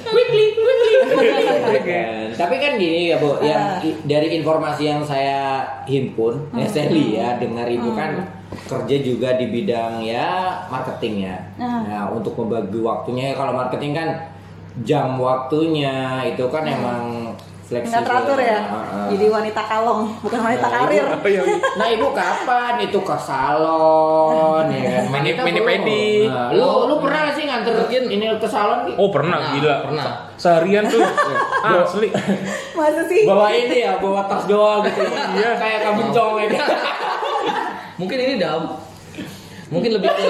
Speaker 2: quickly, quickly, quickly. Kan. Tapi kan gini ya bu, yang
Speaker 3: Ah.
Speaker 2: i- dari informasi yang saya himpun,
Speaker 3: Hmm.
Speaker 2: ya saya lihat dengar ibu kan kerja juga di bidang ya marketing ya.
Speaker 3: Ah.
Speaker 2: Nah untuk membagi waktunya ya, kalau marketing kan jam waktunya itu kan emang fleksibel.
Speaker 3: Enggak Hmm. teratur ya.
Speaker 2: Heeh.
Speaker 3: Jadi wanita kalong, bukan wanita
Speaker 2: Nah,
Speaker 3: karir.
Speaker 1: Oh iya, iya.
Speaker 2: Nah ibu kapan itu ke salon ya kan?
Speaker 1: Mini-
Speaker 2: Wanita
Speaker 1: mini
Speaker 2: belum.
Speaker 1: pedi.
Speaker 2: Nah, lu lu pernah nggak sih nganterin ini ke salon? Ki?
Speaker 1: Oh pernah
Speaker 4: Pernah,
Speaker 1: gila.
Speaker 4: pernah.
Speaker 1: Seharian tuh. Asli.
Speaker 3: Masa sih?
Speaker 2: bawa ini ya bawa tas doang gitu iya kayak kamu cong ya kan?
Speaker 4: Mungkin ini dam. Mungkin lebih ke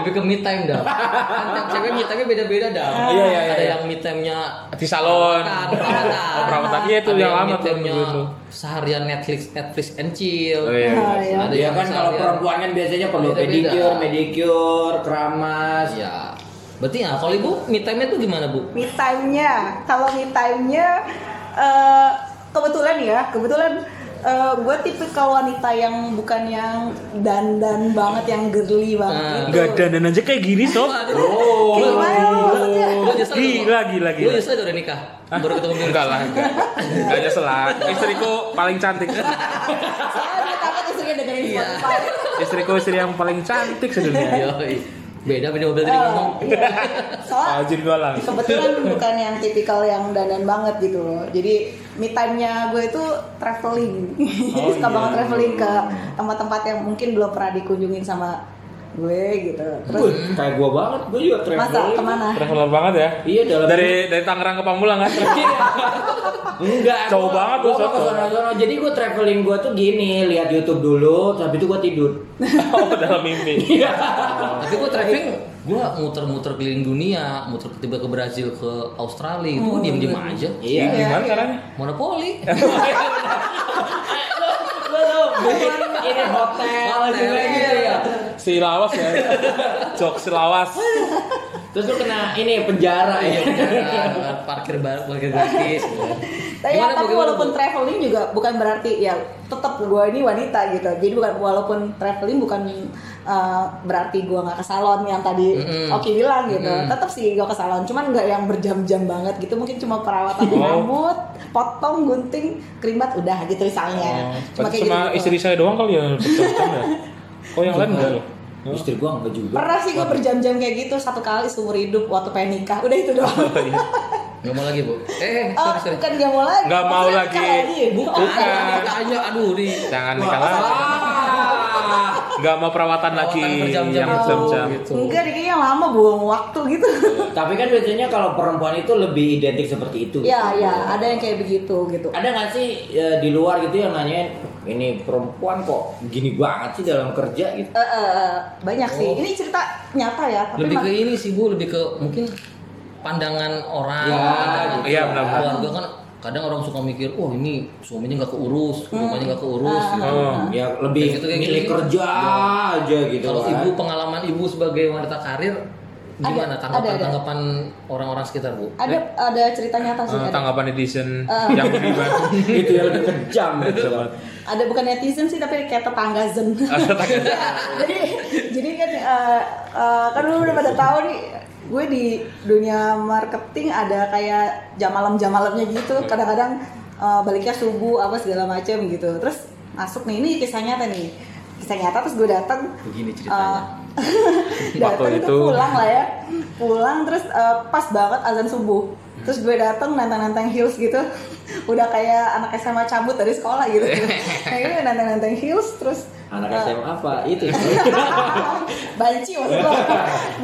Speaker 4: lebih ke me time dam. Kan tiap cewek me time-nya beda-beda dam.
Speaker 1: Iya, iya, iya,
Speaker 4: Ada
Speaker 1: iya.
Speaker 4: yang me time-nya
Speaker 1: Di salon.
Speaker 4: Perawatan, perawatan.
Speaker 1: Oh, perawatan. Iya itu
Speaker 4: ada
Speaker 1: yang lama
Speaker 4: me
Speaker 1: tuh.
Speaker 4: time-nya
Speaker 1: begitu.
Speaker 4: seharian Netflix Netflix and chill.
Speaker 1: Oh, iya.
Speaker 3: Ah, iya.
Speaker 4: Ada
Speaker 2: ya
Speaker 4: yang
Speaker 2: kan kalau
Speaker 4: seharian-
Speaker 2: perempuan kan biasanya perlu
Speaker 4: Beda-beda.
Speaker 2: pedicure medicure keramas
Speaker 4: Iya. Berarti ya kalau ibu me time-nya tuh gimana bu?
Speaker 3: Me time-nya. Kalau me time-nya eh, kebetulan ya, kebetulan eh, gue tipikal wanita yang bukan yang dandan banget, yang girly banget
Speaker 4: Ah.
Speaker 3: gitu.
Speaker 1: Gak dandan aja kayak gini sob.
Speaker 2: oh iya.
Speaker 3: Kayak Gimana lo maksudnya?
Speaker 4: Lu nyesel nggak, Bu?
Speaker 1: Gila, gila, gila.
Speaker 4: Lu nyesel nggak udah nikah?
Speaker 1: Hah?
Speaker 4: Baru ketemu
Speaker 1: enggak lah, enggak. Enggak nyesel lah. Istriku paling cantik.
Speaker 3: Soalnya dia takut istrinya dengerin
Speaker 4: Iya.
Speaker 3: Spotify.
Speaker 1: Istriku istri yang paling cantik
Speaker 2: Iya.
Speaker 1: sedunia.
Speaker 4: Yoi. Beda beda mobil tadi ngomong.
Speaker 3: Eh, iya. Soalnya
Speaker 1: Ajin gue lah.
Speaker 3: kebetulan bukan yang tipikal yang dandan banget gitu loh jadi me time-nya gue itu
Speaker 2: Oh,
Speaker 3: traveling Jadi
Speaker 2: iya.
Speaker 3: suka banget traveling ke tempat-tempat yang mungkin belum pernah dikunjungin sama gue gitu terus
Speaker 2: Wih, kayak gua banget gua juga
Speaker 3: masa
Speaker 2: traveling
Speaker 3: kemana
Speaker 1: Traveler banget ya.
Speaker 2: iya dalam
Speaker 1: Dari dari Tangerang ke Pamulang kan.
Speaker 2: enggak
Speaker 1: Jauh
Speaker 2: gua-
Speaker 1: banget lu,
Speaker 2: gua ke
Speaker 1: Sob.
Speaker 2: sana jadi gua traveling gua tuh gini lihat YouTube dulu tapi itu gua tidur
Speaker 1: Oh, dalam mimpi.
Speaker 2: iya
Speaker 4: Tapi gue traveling, gue muter-muter keliling dunia, muter tiba ke Brazil, ke Australia, itu gua diem-diem aja.
Speaker 2: Oh, iya
Speaker 1: Ih, Gimana caranya?
Speaker 4: Monopoli.
Speaker 1: Iya.
Speaker 2: Lu- lu bikin ini hotel
Speaker 4: Hotel,
Speaker 2: juga gitu
Speaker 4: iya.
Speaker 2: ya
Speaker 1: Si lawas ya. Jok si lawas.
Speaker 2: terus lu kena ini penjara ya
Speaker 4: Nah, parkir bar, parkir gratis.
Speaker 3: tapi,
Speaker 4: Gimana, Bu?
Speaker 3: tapi
Speaker 4: Gimana,
Speaker 3: walaupun
Speaker 4: Bu?
Speaker 3: traveling juga bukan berarti ya tetap gue ini wanita gitu jadi bukan walaupun traveling bukan uh, berarti gue nggak ke salon yang tadi
Speaker 4: Mm-mm.
Speaker 3: Oki bilang gitu tetap sih gue ke salon cuman nggak yang berjam-jam banget gitu mungkin cuma perawatan
Speaker 1: Oh.
Speaker 3: rambut potong gunting kerimat udah gitu misalnya
Speaker 1: Oh. Berarti
Speaker 3: gitu
Speaker 1: Cuma istri saya doang kali ya. betul-betul ya. Kok yang lain enggak loh?
Speaker 2: istri gua enggak juga
Speaker 3: pernah sih gue berjam-jam kayak gitu satu kali seumur hidup waktu pengen nikah udah itu doang
Speaker 1: Oh, iya.
Speaker 4: Gak mau lagi bu? Eh,
Speaker 3: oh
Speaker 4: sorry sorry.
Speaker 3: bukan gak mau lagi
Speaker 1: Nggak mau
Speaker 3: Maksudnya
Speaker 1: lagi.
Speaker 3: nikah
Speaker 4: Bukan. Tanya, aduh nih.
Speaker 1: Jangan nikah lagi.
Speaker 2: Ah.
Speaker 1: Nggak mau perawatan lagi.
Speaker 4: Perawatan berjam-jam.
Speaker 1: Yang berjam-jam.
Speaker 4: Gitu.
Speaker 3: Enggak, dia kayaknya lama buang waktu gitu.
Speaker 2: Tapi kan biasanya kalau perempuan itu lebih identik seperti itu.
Speaker 3: ya, ya, ada yang kayak begitu gitu.
Speaker 2: Ada nggak sih ya, di luar gitu yang nanyain ini perempuan kok gini banget sih dalam kerja gitu?
Speaker 3: Eh, eh, eh, banyak sih. Ini cerita nyata ya. Tapi
Speaker 4: Oh. Lebih
Speaker 3: mak-
Speaker 4: ke ini sih bu, lebih ke mungkin pandangan orang.
Speaker 2: Ya,
Speaker 4: pandangan
Speaker 1: Iya benar-benar.
Speaker 4: keluarga kan kadang orang suka mikir, oh ini suaminya nggak keurus,
Speaker 3: Hmm.
Speaker 4: rumahnya nggak keurus. gitu.
Speaker 3: Ah.
Speaker 1: Oh.
Speaker 2: Ya lebih
Speaker 4: Kayak gitu, kayak
Speaker 2: milih
Speaker 4: gitu.
Speaker 2: kerja aja gitu.
Speaker 4: Kalau
Speaker 3: Iya.
Speaker 2: kan.
Speaker 4: ibu pengalaman ibu sebagai wanita karir gimana
Speaker 3: Ada,
Speaker 4: tanggapan
Speaker 3: ada, ada.
Speaker 4: tanggapan orang-orang sekitar bu?
Speaker 3: ada ada cerita nyata sih.
Speaker 1: Eh,
Speaker 3: ada.
Speaker 1: tanggapan netizen
Speaker 3: Eh.
Speaker 1: yang beriman.
Speaker 2: itu yang lebih kejam gitu.
Speaker 3: ada bukan netizen sih tapi kayak tetangga zen Iya, jadi jadi kan eh, eh, kan lu udah pada tahu nih gue di dunia marketing ada kayak jam malam jam malamnya gitu kadang-kadang eh, baliknya subuh apa segala macem gitu terus masuk nih ini kisah nyata nih kisah nyata terus gue datang
Speaker 4: Begini ceritanya.
Speaker 3: Eh, datang
Speaker 1: Waktu
Speaker 3: itu
Speaker 1: itu.
Speaker 3: pulang lah ya pulang terus eh, pas banget azan subuh terus gue datang nantang-nantang heels gitu udah kayak anak SMA cabut dari sekolah gitu kayak gue nantang-nantang heels terus
Speaker 2: Anak
Speaker 3: eh,
Speaker 2: SMA apa itu?
Speaker 3: banci maksud lo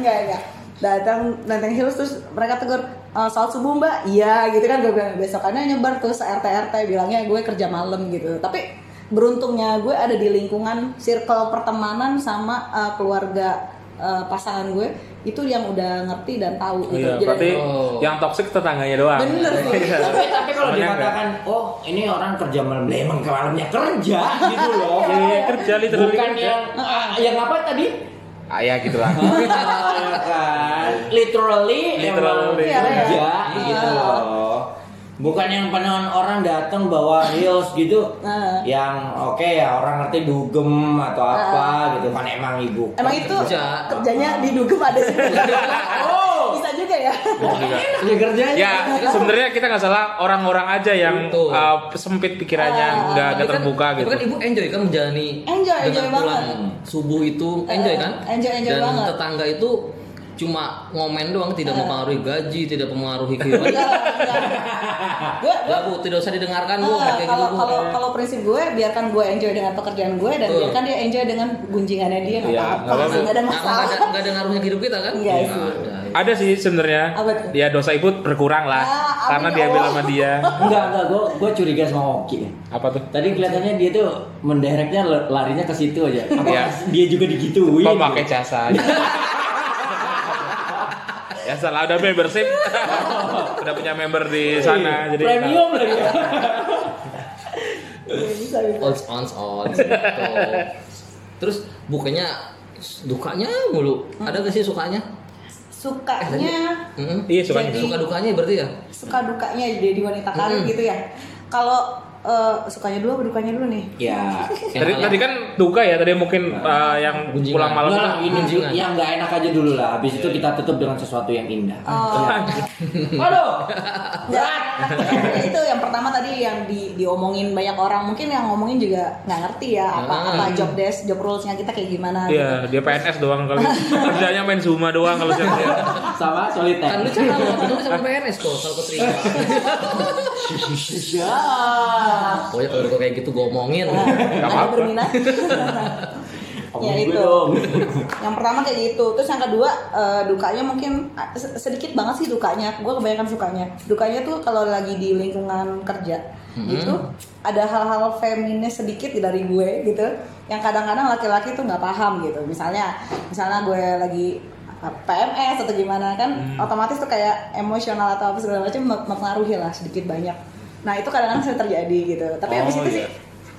Speaker 3: enggak enggak datang nantang heels terus mereka tegur eh, salat subuh mbak iya gitu kan gue bilang besokannya nyebar tuh se RT RT bilangnya gue kerja malam gitu tapi beruntungnya gue ada di lingkungan circle pertemanan sama eh, keluarga eh, pasangan gue itu yang udah ngerti dan tahu
Speaker 1: Oh
Speaker 3: gitu.
Speaker 1: iya,
Speaker 3: Jadi-
Speaker 1: berarti
Speaker 4: Oh.
Speaker 1: yang toksik tetangganya doang.
Speaker 3: Bener sih.
Speaker 1: Iya.
Speaker 2: tapi tapi kalau
Speaker 1: Soalnya
Speaker 2: dikatakan oh ini orang kerja malam lah, emang malamnya kerja gitu loh
Speaker 1: enggak. Iya, iya, kerja literally
Speaker 2: bukan
Speaker 1: kerja.
Speaker 2: yang ah, yang apa tadi
Speaker 1: Ah, ya gitu lah.
Speaker 2: Ah, kan literally, emang
Speaker 1: Literally.
Speaker 3: Iya, iya.
Speaker 2: kerja gitu loh bukan yang penon orang datang bawa reels gitu
Speaker 3: Ah.
Speaker 2: yang oke ya orang ngerti dugem atau apa gitu kan emang ibu
Speaker 3: Emang itu
Speaker 4: Kerja.
Speaker 3: kerjanya di dugem ada sih.
Speaker 2: oh
Speaker 3: Bisa juga ya.
Speaker 2: ini kerjanya
Speaker 1: ya, sebenarnya kita nggak salah orang-orang aja yang
Speaker 4: Betul.
Speaker 1: uh, sempit pikirannya, nggak nggak
Speaker 4: Tapi kan-
Speaker 1: terbuka
Speaker 4: tapi
Speaker 1: gitu.
Speaker 4: kan ibu enjoy kan menjalani
Speaker 3: Enjoy,
Speaker 4: dengan
Speaker 3: enjoy
Speaker 4: pulang
Speaker 3: banget.
Speaker 4: subuh itu
Speaker 3: Eh,
Speaker 4: enjoy kan?
Speaker 3: enjoy, enjoy
Speaker 4: Dan
Speaker 3: banget. Eh.
Speaker 4: tetangga itu cuma ngomen doang, tidak mempengaruhi gaji, tidak mempengaruhi
Speaker 3: Iya,
Speaker 4: kehidupan.
Speaker 3: iya. Gue
Speaker 4: Gak bu, tidak usah didengarkan bu,
Speaker 3: Ah,
Speaker 4: nggak kayak gitu
Speaker 3: kalau
Speaker 4: bu.
Speaker 3: kalau kalau prinsip gue biarkan gue enjoy dengan pekerjaan gue dan
Speaker 4: Betul.
Speaker 3: biarkan dia enjoy dengan gunjingannya dia nggak
Speaker 1: Iya,
Speaker 3: apa-apa
Speaker 1: nggak apa-apa.
Speaker 3: nggak ada
Speaker 4: Nggak
Speaker 3: masalah
Speaker 4: ada, nggak ada ngaruhnya ke hidup kita kan?
Speaker 3: Iya sih.
Speaker 4: Nggak ada.
Speaker 1: Ada sih sebenarnya.
Speaker 3: Apa tuh?
Speaker 1: Ya dosa ibu berkurang lah,
Speaker 3: Ah,
Speaker 1: karena
Speaker 3: amin, ya
Speaker 1: diambil
Speaker 3: Allah.
Speaker 1: sama dia.
Speaker 2: enggak enggak gue gue curiga sama Oki
Speaker 1: Apa tuh?
Speaker 2: Tadi kelihatannya dia tuh mendereknya l- larinya ke situ aja. Apa
Speaker 1: Iya.
Speaker 2: dia juga digituin?
Speaker 1: Pemakai jasa. ya salah ada membership. Udah punya member di sana jadi
Speaker 2: Iya. premium lagi. ya.
Speaker 3: Iya, bisa, bisa.
Speaker 4: Ons ons ons. gitu. Terus bukannya dukanya mulu. Ada gak sih sukanya?
Speaker 3: sukanya
Speaker 4: Mm-mm.
Speaker 1: Iya, sukanya.
Speaker 3: Jadi-
Speaker 4: Suka dukanya berarti ya?
Speaker 3: suka dukanya jadi wanita karir
Speaker 4: Mm-mm.
Speaker 3: gitu ya kalau eh, sukanya dulu apa dukanya dulu nih
Speaker 2: Ya.
Speaker 4: Yang
Speaker 1: Tadi,
Speaker 4: malam.
Speaker 1: tadi kan duka ya, tadi mungkin uh, yang
Speaker 4: Gunjingan.
Speaker 1: pulang malam itu
Speaker 2: Enggak lah, iya. ini
Speaker 4: Kunjungan.
Speaker 2: yang nggak enak aja dulu lah. Habis itu kita tutup dengan sesuatu yang indah. Iya.
Speaker 3: Oh.
Speaker 2: Aduh.
Speaker 3: Berat. Ya, itu yang pertama tadi yang di, diomongin banyak orang mungkin yang ngomongin juga nggak ngerti ya apa
Speaker 4: Hmm.
Speaker 3: apa job desk job rulesnya kita kayak gimana
Speaker 1: Iya,
Speaker 3: gitu.
Speaker 1: dia PNS doang kali. Kerjanya main Zuma doang kalau siang
Speaker 2: Sama
Speaker 4: Kan lu
Speaker 2: soliter.
Speaker 4: cara lu sama PNS kok kalau keterima.
Speaker 3: gitu.
Speaker 2: Ya.
Speaker 4: Pokoknya kalau gua kayak gitu gua omongin.
Speaker 3: Nah, ada
Speaker 1: apa-apa.
Speaker 3: berminat ya
Speaker 2: Omongin gue
Speaker 3: itu
Speaker 2: dong.
Speaker 3: yang pertama kayak gitu terus yang kedua eh, dukanya mungkin eh, se- sedikit banget sih dukanya gue kebanyakan sukanya dukanya tuh kalau lagi di lingkungan kerja
Speaker 1: Mm-hmm.
Speaker 3: itu ada hal-hal feminis sedikit dari gue gitu yang kadang-kadang laki-laki tuh nggak paham gitu misalnya misalnya gue lagi apa, PMS atau gimana
Speaker 1: Mm-hmm.
Speaker 3: kan otomatis tuh kayak emosional atau apa segala macam mem- mempengaruhi lah sedikit banyak nah itu kadang-kadang sering terjadi gitu tapi
Speaker 1: Oh,
Speaker 3: habis itu
Speaker 1: iya.
Speaker 3: sih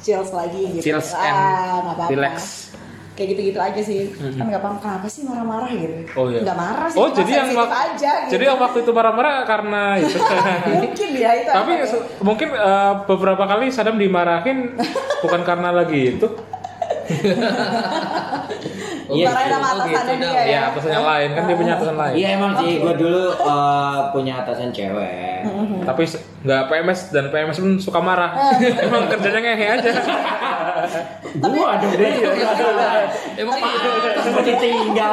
Speaker 3: chills lagi gitu
Speaker 1: Chills
Speaker 3: Ah,
Speaker 1: and
Speaker 3: nggak apa-apa
Speaker 1: relax. Mm-hmm.
Speaker 3: kayak gitu-gitu aja sih kan nggak paham kenapa sih marah-marah gitu
Speaker 1: Oh iya.
Speaker 3: nggak marah sih
Speaker 1: Oh,
Speaker 3: cuma
Speaker 1: jadi yang
Speaker 3: sensitif
Speaker 1: wak-
Speaker 3: aja gitu.
Speaker 1: Jadi yang waktu itu marah-marah karena itu.
Speaker 3: mungkin ya itu
Speaker 1: Tapi
Speaker 3: apa ya.
Speaker 1: se- mungkin eh, beberapa kali Sadam dimarahin bukan karena lagi itu.
Speaker 2: Iya,
Speaker 3: Dimarahin sama
Speaker 4: oh, gitu,
Speaker 3: atasannya
Speaker 4: Dam.
Speaker 3: dia ya
Speaker 1: Ya, atasan yang lain kan dia punya atasan lain.
Speaker 2: Iya emang sih gue dulu eh, punya atasan cewek.
Speaker 3: Hmm.
Speaker 1: Tapi se- nggak PMS dan PMS pun suka marah.
Speaker 3: Ah.
Speaker 1: Emang kerjanya ngehe aja.
Speaker 2: Gue ada gue
Speaker 4: Emang iya.
Speaker 2: Terus ditinggal.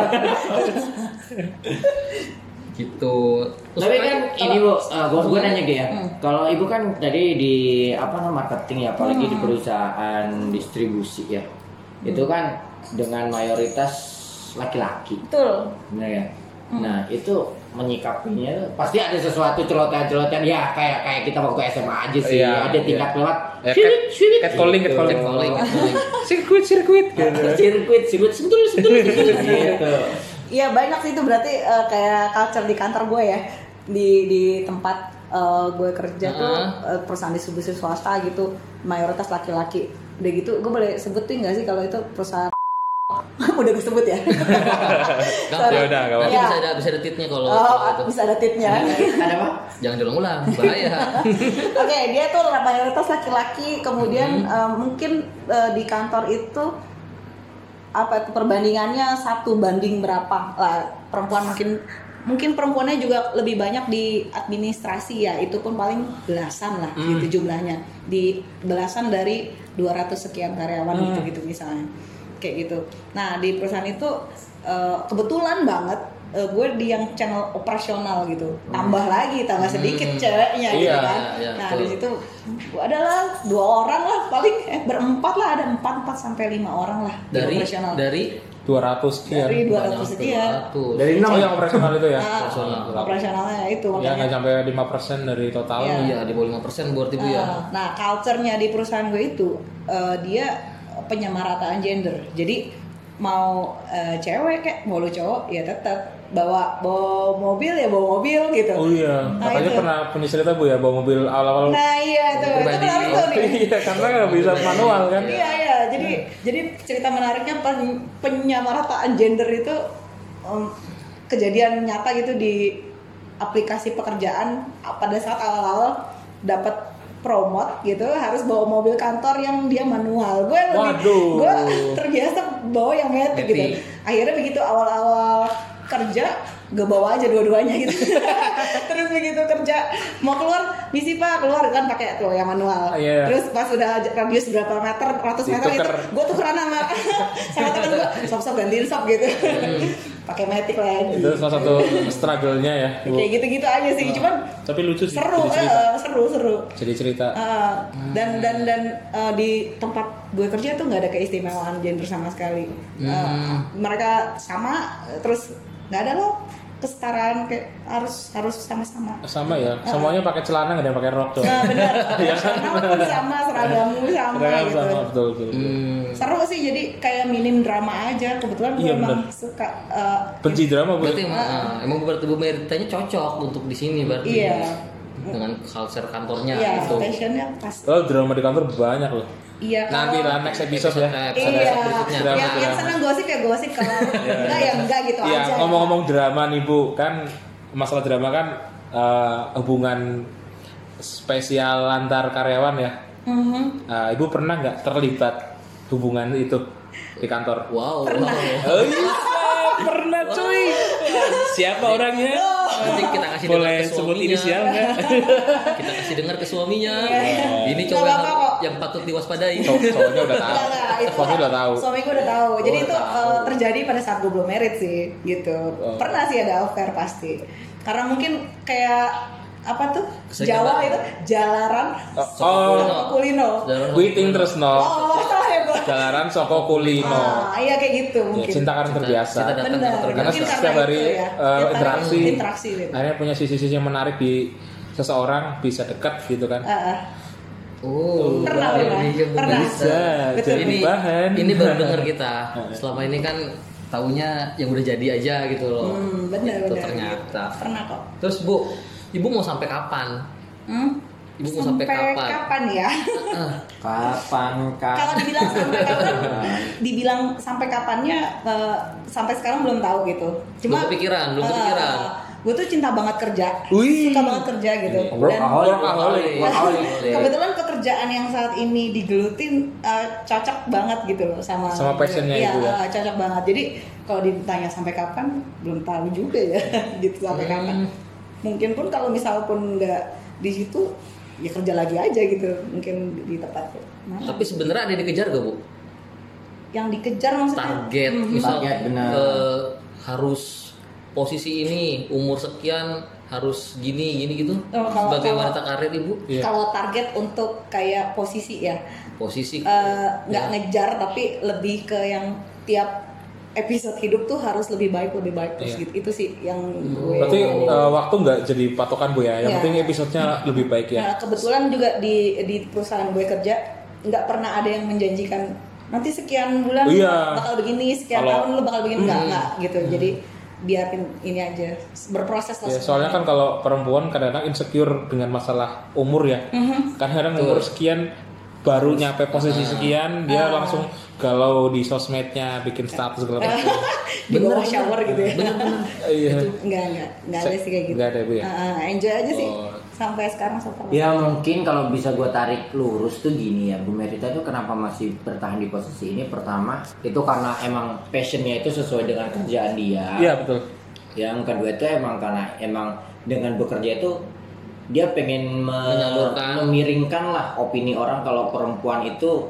Speaker 4: gitu. Terus
Speaker 2: Tapi kan
Speaker 4: sukanya-
Speaker 2: ini bu, gue gue nanya gitu ya. Kalau ibu kan tadi di apa namanya marketing ya, apalagi di perusahaan distribusi ya, itu kan dengan mayoritas laki-laki,
Speaker 3: betul
Speaker 2: benar ya. Nah itu menyikapinya tuh pasti ada sesuatu celotehan-celotehan ya kayak kayak kita waktu SMA aja sih,
Speaker 1: Iya,
Speaker 2: ada tingkat lewat
Speaker 1: Ya, cat-
Speaker 2: sirkuit, sirkuit,
Speaker 1: catcalling, catcalling.
Speaker 4: Catcalling, catcalling.
Speaker 1: Sirkuit, sirkuit.
Speaker 2: Nah, sirkuit, sirkuit, sentul, sentul, sentul, gitu.
Speaker 3: Iya banyak sih itu berarti eh, kayak culture di kantor gue ya di di tempat eh, gue kerja tuh
Speaker 4: Heeh.
Speaker 3: eh, perusahaan distribusi swasta gitu mayoritas laki-laki udah gitu gue boleh sebutin nggak sih kalau itu perusahaan udah gue sebut ya
Speaker 4: Gampang.
Speaker 1: Ya udah, nggak apa-apa.
Speaker 4: Nanti
Speaker 3: Iya.
Speaker 4: bisa ada bisa ada titnya kalau
Speaker 3: Oh,
Speaker 4: kalau itu.
Speaker 3: bisa ada tipnya
Speaker 1: Iya,
Speaker 2: Ada apa?
Speaker 4: Jangan diulang-ulang, bahaya.
Speaker 3: Oke, dia tuh mayoritas laki-laki, kemudian eh, mungkin eh, di kantor itu apa tuh, perbandingannya satu banding berapa lah perempuan mungkin mungkin perempuannya juga lebih banyak di administrasi ya itu pun paling belasan lah gitu jumlahnya di belasan dari 200 sekian karyawan gitu gitu misalnya kayak gitu nah di perusahaan itu eh, kebetulan banget eh, gue di yang channel operasional gitu tambah lagi tambah sedikit ceweknya gitu
Speaker 4: Iya,
Speaker 3: kan
Speaker 4: iya,
Speaker 3: nah
Speaker 4: betul.
Speaker 3: di situ adalah dua orang lah paling eh berempat lah ada empat empat sampai lima orang lah di
Speaker 4: Dari
Speaker 3: operasional
Speaker 4: dari
Speaker 1: 200 sekian.
Speaker 3: dari
Speaker 4: banyak ah,
Speaker 3: 200
Speaker 4: sampai
Speaker 3: sekian
Speaker 4: 200.
Speaker 1: Dari enam oh, yang operasional itu ya.
Speaker 3: Ah, operasionalnya itu
Speaker 1: Ya nggak
Speaker 3: makanya
Speaker 1: sampai 5% dari total.
Speaker 3: Iya.
Speaker 4: Iya, di bawah 5% berarti bu ya.
Speaker 3: Ah, nah culture-nya di perusahaan gue itu eh, dia penyamarataan gender jadi mau eh, cewek kayak mau lu cowok ya tetap bawa bawa mobil ya bawa mobil gitu
Speaker 1: Oh iya,
Speaker 3: Nah,
Speaker 1: katanya
Speaker 3: itu.
Speaker 1: pernah punya cerita Bu ya bawa mobil awal-awal.
Speaker 3: nah iya tuh itu
Speaker 4: Pribadi.
Speaker 3: menarik tuh nih
Speaker 1: Iya, karena nggak bisa manual kan.
Speaker 3: Iya iya, jadi jadi cerita menariknya pen- penyamarataan gender itu em, kejadian nyata gitu di aplikasi pekerjaan pada saat awal-awal dapat promote gitu harus bawa mobil kantor yang dia manual. Gue lebih
Speaker 1: Waduh.
Speaker 3: gue terbiasa bawa yang metik gitu.
Speaker 4: Matic.
Speaker 3: Akhirnya begitu awal-awal kerja gue bawa aja dua-duanya gitu terus begitu kerja mau keluar misi pak keluar kan pakai tuh yang manual
Speaker 1: Iya.
Speaker 3: terus pas udah j- radius berapa meter 100 meter itu
Speaker 1: Dituker.
Speaker 3: gue tukeran sama sama temen gue sop sop gantiin sop gitu pakai metik lagi
Speaker 1: Hmm. Itu salah satu struggle-nya ya, Bu.
Speaker 3: kayak gitu gitu aja sih cuman
Speaker 1: Tapi lucu sih. Hmm.
Speaker 3: seru
Speaker 1: jadi cerita.
Speaker 3: eh, seru seru
Speaker 1: Jadi cerita.
Speaker 3: Eh, dan dan dan eh, di tempat gue kerja tuh nggak ada keistimewaan gender sama sekali Eh,
Speaker 1: Hmm.
Speaker 3: mereka sama eh, terus nggak ada loh kesetaraan kayak harus harus sama-sama
Speaker 1: Sama ya, semuanya pakai celana nggak ada yang pakai rok tuh.
Speaker 3: nah benar karena pun sama seragamu
Speaker 1: Iya kan?
Speaker 3: sama
Speaker 1: Seragam
Speaker 3: gitu
Speaker 1: sama betul betul. betul.
Speaker 4: Hmm.
Speaker 3: seru sih jadi kayak minim drama aja kebetulan gue
Speaker 1: Iya,
Speaker 3: emang suka eh,
Speaker 1: Benci drama Bu.
Speaker 4: Berarti emang, ah, emang berarti bu Meritanya cocok untuk di sini berarti.
Speaker 3: iya
Speaker 4: Dengan culture
Speaker 1: Ya,
Speaker 4: kantornya
Speaker 3: iya
Speaker 4: gitu.
Speaker 3: passionnya pas
Speaker 1: Oh, drama di kantor banyak loh.
Speaker 3: iya
Speaker 1: Nanti
Speaker 3: kalau-
Speaker 1: lah next Nah, episode ya.
Speaker 4: Episode- episode
Speaker 3: iya
Speaker 4: berikutnya.
Speaker 1: Drama,
Speaker 3: yang, yang
Speaker 1: drama.
Speaker 3: senang gosip ya gosip kalau enggak ya enggak gitu aja
Speaker 1: Iya, ngomong-ngomong drama nih Bu, kan masalah drama kan eh, hubungan spesial antar karyawan ya.
Speaker 3: Mhm.
Speaker 1: Eh, Ibu pernah nggak terlibat hubungan itu di kantor?
Speaker 4: Wow.
Speaker 3: Pernah.
Speaker 4: wow.
Speaker 1: Oh iya, pernah cuy. Siapa orangnya?
Speaker 4: Nanti kita kasih dengar
Speaker 1: Boleh
Speaker 4: ke
Speaker 1: sebut
Speaker 4: suaminya.
Speaker 1: inisial nggak?
Speaker 4: Kita kasih dengar ke suaminya. Ini
Speaker 3: Iya, Nggak
Speaker 4: cowok yang,
Speaker 3: apa-apa kok.
Speaker 4: yang patut diwaspadai.
Speaker 1: Cow- Cowoknya udah tahu.
Speaker 3: Enggak, enggak, itu
Speaker 1: Cowoknya udah tahu.
Speaker 3: Suami gue udah tahu. Jadi
Speaker 4: Oh,
Speaker 3: itu
Speaker 4: tahu.
Speaker 3: eh, terjadi pada saat gue belum married sih, gitu.
Speaker 1: Oh.
Speaker 3: Pernah sih ada affair pasti. Karena mungkin kayak apa tuh
Speaker 4: Keseringan
Speaker 3: Jawa
Speaker 4: banget.
Speaker 3: itu jalaran
Speaker 1: Oh,
Speaker 3: sama kulino.
Speaker 1: Witing Tresno.
Speaker 3: Oh, salah ya gue.
Speaker 1: Jalaran Soko Kulino.
Speaker 3: Ah, iya kayak gitu
Speaker 1: Ya,
Speaker 3: mungkin.
Speaker 1: cinta kan
Speaker 4: Cinta-
Speaker 1: terbiasa.
Speaker 4: cinta datang
Speaker 3: Benar.
Speaker 4: karena
Speaker 1: karena
Speaker 3: mungkin
Speaker 1: setiap hari
Speaker 3: itu
Speaker 1: eh,
Speaker 3: Tiap hari
Speaker 1: interaksi,
Speaker 3: Interaksi
Speaker 4: Nah.
Speaker 3: gitu.
Speaker 1: akhirnya punya sisi-sisi yang menarik di seseorang bisa dekat gitu kan
Speaker 3: Ah, ah.
Speaker 4: Oh,
Speaker 3: Pernah,
Speaker 4: iya,
Speaker 3: pernah.
Speaker 4: iya,
Speaker 3: Pernah.
Speaker 4: bisa.
Speaker 3: Betul.
Speaker 1: jadi
Speaker 4: Ini
Speaker 1: bahan
Speaker 4: ini baru dengar
Speaker 3: gitu.
Speaker 4: kita. Selama ini kan taunya yang udah jadi aja gitu loh.
Speaker 3: Hmm, benar,
Speaker 4: Itu
Speaker 3: benar.
Speaker 4: ternyata.
Speaker 3: Pernah kok.
Speaker 4: Terus Bu, Ibu mau sampai kapan?
Speaker 3: Hmm?
Speaker 4: Ibu mau sampai kapan?
Speaker 3: ya?
Speaker 4: Ah,
Speaker 2: Kapan kak?
Speaker 3: Kalau dibilang sampai kapan, dibilang sampai kapannya eh, sampai sekarang belum tahu gitu.
Speaker 4: Belum kepikiran, belum
Speaker 3: eh,
Speaker 4: kepikiran.
Speaker 3: gue tuh cinta banget kerja,
Speaker 1: Wih.
Speaker 3: suka banget kerja gitu.
Speaker 2: Workaholic.
Speaker 1: Workaholic.
Speaker 2: Workaholic.
Speaker 3: Kebetulan pekerjaan yang saat ini digelutin eh, cocok banget gitu loh sama
Speaker 1: Sama passionnya
Speaker 3: Iya,
Speaker 1: itu ya.
Speaker 3: eh, cocok banget. Jadi kalau ditanya sampai kapan, belum tahu juga ya gitu sampai
Speaker 1: Hmm.
Speaker 3: kapan. Mungkin pun kalau misal pun nggak di situ ya kerja lagi aja gitu mungkin di tempat mana.
Speaker 4: Tapi sebenarnya ada yang dikejar gak Bu?
Speaker 3: yang dikejar maksudnya
Speaker 4: Target misal
Speaker 2: Target, benar.
Speaker 4: eh, harus posisi ini umur sekian harus gini gini gitu.
Speaker 3: Oh, kalau-
Speaker 4: Sebagai
Speaker 3: kalau-
Speaker 4: wanita karir Ibu,
Speaker 1: Iya.
Speaker 3: kalau target untuk kayak posisi ya
Speaker 4: posisi
Speaker 3: eh, nggak
Speaker 4: Ya.
Speaker 3: ngejar tapi lebih ke yang tiap episode hidup tuh harus lebih baik lebih baik terus
Speaker 1: Iya.
Speaker 3: gitu itu sih yang gue
Speaker 1: berarti eh, waktu nggak jadi patokan bu ya yang
Speaker 3: Iya.
Speaker 1: penting episodenya lebih baik ya
Speaker 3: Nah, kebetulan juga di di perusahaan gue kerja nggak pernah ada yang menjanjikan nanti sekian bulan
Speaker 1: Iya.
Speaker 3: bakal begini sekian
Speaker 1: Kalau- Hmm.
Speaker 3: tahun lu bakal begini nggak nggak gitu jadi biarpin ini aja berproses lah
Speaker 1: Ya,
Speaker 3: semua.
Speaker 1: soalnya kan kalau perempuan kadang-kadang insecure dengan masalah umur ya
Speaker 3: Mm-hmm.
Speaker 1: kadang-kadang umur sekian baru nyampe
Speaker 3: Ah.
Speaker 1: posisi sekian dia langsung galau di sosmednya bikin status segala macam
Speaker 3: di bawah shower gitu ya
Speaker 1: iya
Speaker 3: Enggak, enggak, enggak ada sih kayak gitu.
Speaker 1: Nggak ada, Bu, ya?
Speaker 3: Ah, ah, enjoy aja sih
Speaker 1: Oh. Iya.
Speaker 3: sampai sekarang so far.
Speaker 2: Ya mungkin kalau bisa gue tarik lurus tuh gini ya Bu Merita itu kenapa masih bertahan di posisi ini Pertama itu karena emang passionnya itu sesuai dengan kerjaan dia
Speaker 1: iya betul
Speaker 2: Yang kedua itu emang karena emang dengan bekerja itu dia pengen me-
Speaker 4: Menyalurkan.
Speaker 2: memiringkan lah opini orang kalau perempuan itu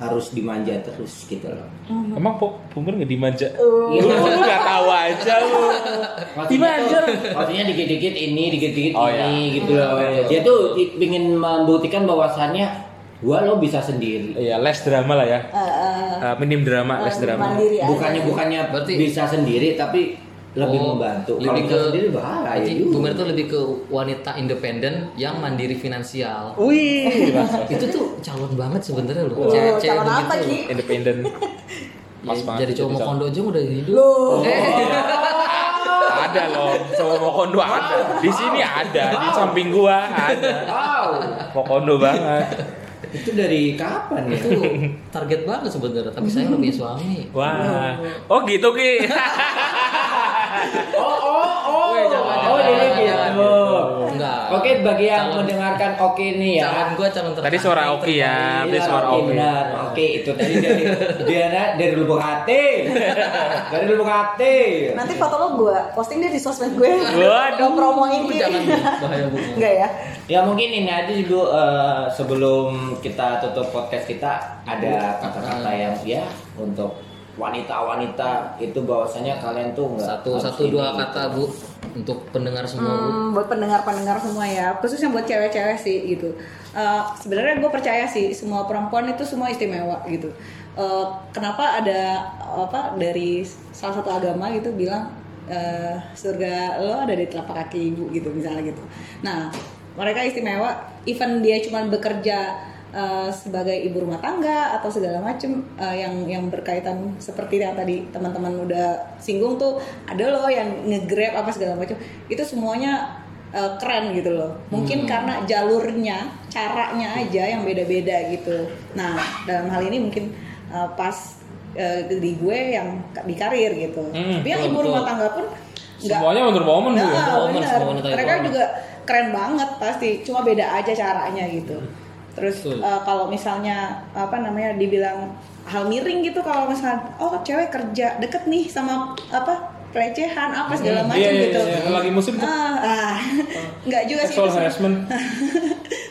Speaker 2: harus dimanja terus gitu loh.
Speaker 1: emang bu bumper nggak dimanja
Speaker 2: Iya.
Speaker 3: Oh.
Speaker 1: nggak tahu aja bu
Speaker 2: Maksudnya tuh, maksudnya dikit-dikit ini, dikit-dikit
Speaker 1: Oh,
Speaker 2: ini gitu loh.
Speaker 1: iya.
Speaker 2: Dia tuh i- pengen membuktikan bahwasannya gua lo bisa sendiri.
Speaker 1: Iya, less drama lah ya.
Speaker 3: Ah, ah,
Speaker 1: eh, minim drama, less drama.
Speaker 3: mandiri aja.
Speaker 2: bukannya bukannya
Speaker 4: Berarti-
Speaker 2: bisa sendiri tapi lebih
Speaker 4: Oh,
Speaker 2: membantu
Speaker 4: lebih
Speaker 2: kalau
Speaker 4: ke
Speaker 2: bisa sendiri
Speaker 3: iya
Speaker 2: bahaya
Speaker 4: berarti
Speaker 2: juga.
Speaker 4: Bu Mer tuh lebih ke wanita independen yang mandiri finansial
Speaker 3: Oh.
Speaker 1: Wih, mas,
Speaker 4: itu tuh calon banget sebenarnya loh
Speaker 3: Wow, Oh, calon apa, Ki?
Speaker 1: independen. Mas
Speaker 4: Ya,
Speaker 1: banget gitu,
Speaker 4: jadi cowok mau
Speaker 1: calon.
Speaker 4: kondo aja udah hidup Eh,
Speaker 3: Loh.
Speaker 1: Ada loh, cowok mau kondo ada. Di sini ada, di samping gua ada.
Speaker 2: wow
Speaker 1: Mau kondo banget.
Speaker 2: itu dari kapan ya
Speaker 4: itu target banget sebenarnya tapi saya udah punya suami
Speaker 1: Wah. Oh gitu Ki.
Speaker 2: oh oh oh
Speaker 4: Weh, jangan,
Speaker 2: oh
Speaker 4: jangan,
Speaker 2: jadi
Speaker 4: jangan, jangan.
Speaker 2: gitu
Speaker 1: Oh.
Speaker 4: Enggak.
Speaker 2: oke bagi yang
Speaker 4: Calon-
Speaker 2: mendengarkan oke nih ya
Speaker 4: calon gue calon terbaik
Speaker 1: iya. Tadi suara Oki ya,
Speaker 4: terbaik.
Speaker 1: tadi suara
Speaker 2: Oke,
Speaker 1: Oki.
Speaker 2: benar. Oke, itu tadi dari dari, dari lubuk hati. Dari lubuk hati.
Speaker 3: Nanti foto lo gue posting deh di sosmed gue.
Speaker 1: Waduh.
Speaker 3: Gua promoin
Speaker 4: Bu,
Speaker 3: Ki.
Speaker 4: jangan Bu. bahaya bu
Speaker 3: Enggak ya?
Speaker 2: Ya mungkin ini aja dulu eh, sebelum kita tutup podcast kita ada kata-kata yang ya untuk wanita-wanita itu bahwasanya kalian tuh nggak
Speaker 4: satu
Speaker 2: harus gitu.
Speaker 4: satu dua
Speaker 2: ini.
Speaker 4: kata bu untuk pendengar semua bu
Speaker 3: Hmm, buat pendengar-pendengar semua ya, khususnya buat cewek-cewek sih gitu. Eh, Sebenarnya gue percaya sih semua perempuan itu semua istimewa gitu. Eh, kenapa ada apa dari salah satu agama gitu bilang eh, surga lo ada di telapak kaki ibu gitu misalnya gitu. Nah mereka istimewa, even dia cuma bekerja eh, sebagai ibu rumah tangga atau segala macem eh, yang yang berkaitan seperti yang tadi teman-teman udah singgung tuh ada loh yang ngegrab apa segala macem itu semuanya eh, keren gitu loh
Speaker 4: Hmm.
Speaker 3: mungkin karena jalurnya caranya aja yang beda-beda gitu nah dalam hal ini mungkin eh, pas eh, di gue yang di karir gitu
Speaker 1: Hmm,
Speaker 3: tapi yang
Speaker 4: betul,
Speaker 3: ibu rumah
Speaker 4: betul.
Speaker 3: tangga pun nggak
Speaker 1: Semuanya Wonder Woman Bu. ya?
Speaker 3: Nah,
Speaker 4: Wonder Woman,
Speaker 3: bener.
Speaker 4: semua wanita itu
Speaker 3: mereka
Speaker 4: Wonder
Speaker 3: juga keren banget pasti, cuma beda aja caranya gitu.
Speaker 1: Hmm.
Speaker 3: Terus
Speaker 4: Betul.
Speaker 3: eh, kalau misalnya apa namanya dibilang hal miring gitu kalau misalnya oh cewek kerja deket nih sama apa pelecehan apa segala macam
Speaker 1: Iya, iya,
Speaker 3: gitu.
Speaker 1: iya, iya. lagi musim tuh
Speaker 3: Ah, ah. nggak juga sih.
Speaker 1: sexual
Speaker 3: itu semua.
Speaker 1: harassment.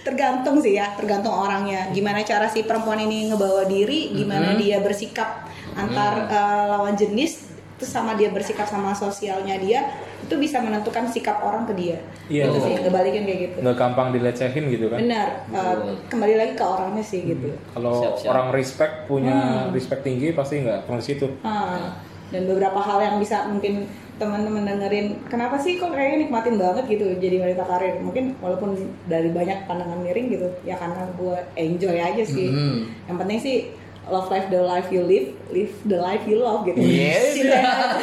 Speaker 3: tergantung sih ya, tergantung orangnya. Gimana cara si perempuan ini ngebawa diri, gimana dia bersikap antar eh, lawan jenis, terus sama dia bersikap sama sosialnya dia, itu bisa menentukan sikap orang ke dia.
Speaker 1: Iya.
Speaker 3: Gitu sih, kebalikin kayak gitu.
Speaker 1: Nggak gampang dilecehin gitu kan.
Speaker 3: Benar, eh, kembali lagi ke orangnya sih gitu.
Speaker 1: Kalau
Speaker 4: Siap-siap.
Speaker 1: orang respect punya
Speaker 3: Hmm.
Speaker 1: respect tinggi pasti nggak pernah situ.
Speaker 3: Ah, dan beberapa hal yang bisa mungkin teman-teman dengerin kenapa sih kok kayaknya nikmatin banget gitu jadi wanita karir mungkin walaupun dari banyak pandangan miring gitu ya karena gue enjoy aja sih
Speaker 4: Mhm.
Speaker 3: yang penting sih love life the life you live live the life you love gitu
Speaker 1: Yes.
Speaker 3: cintain, aja,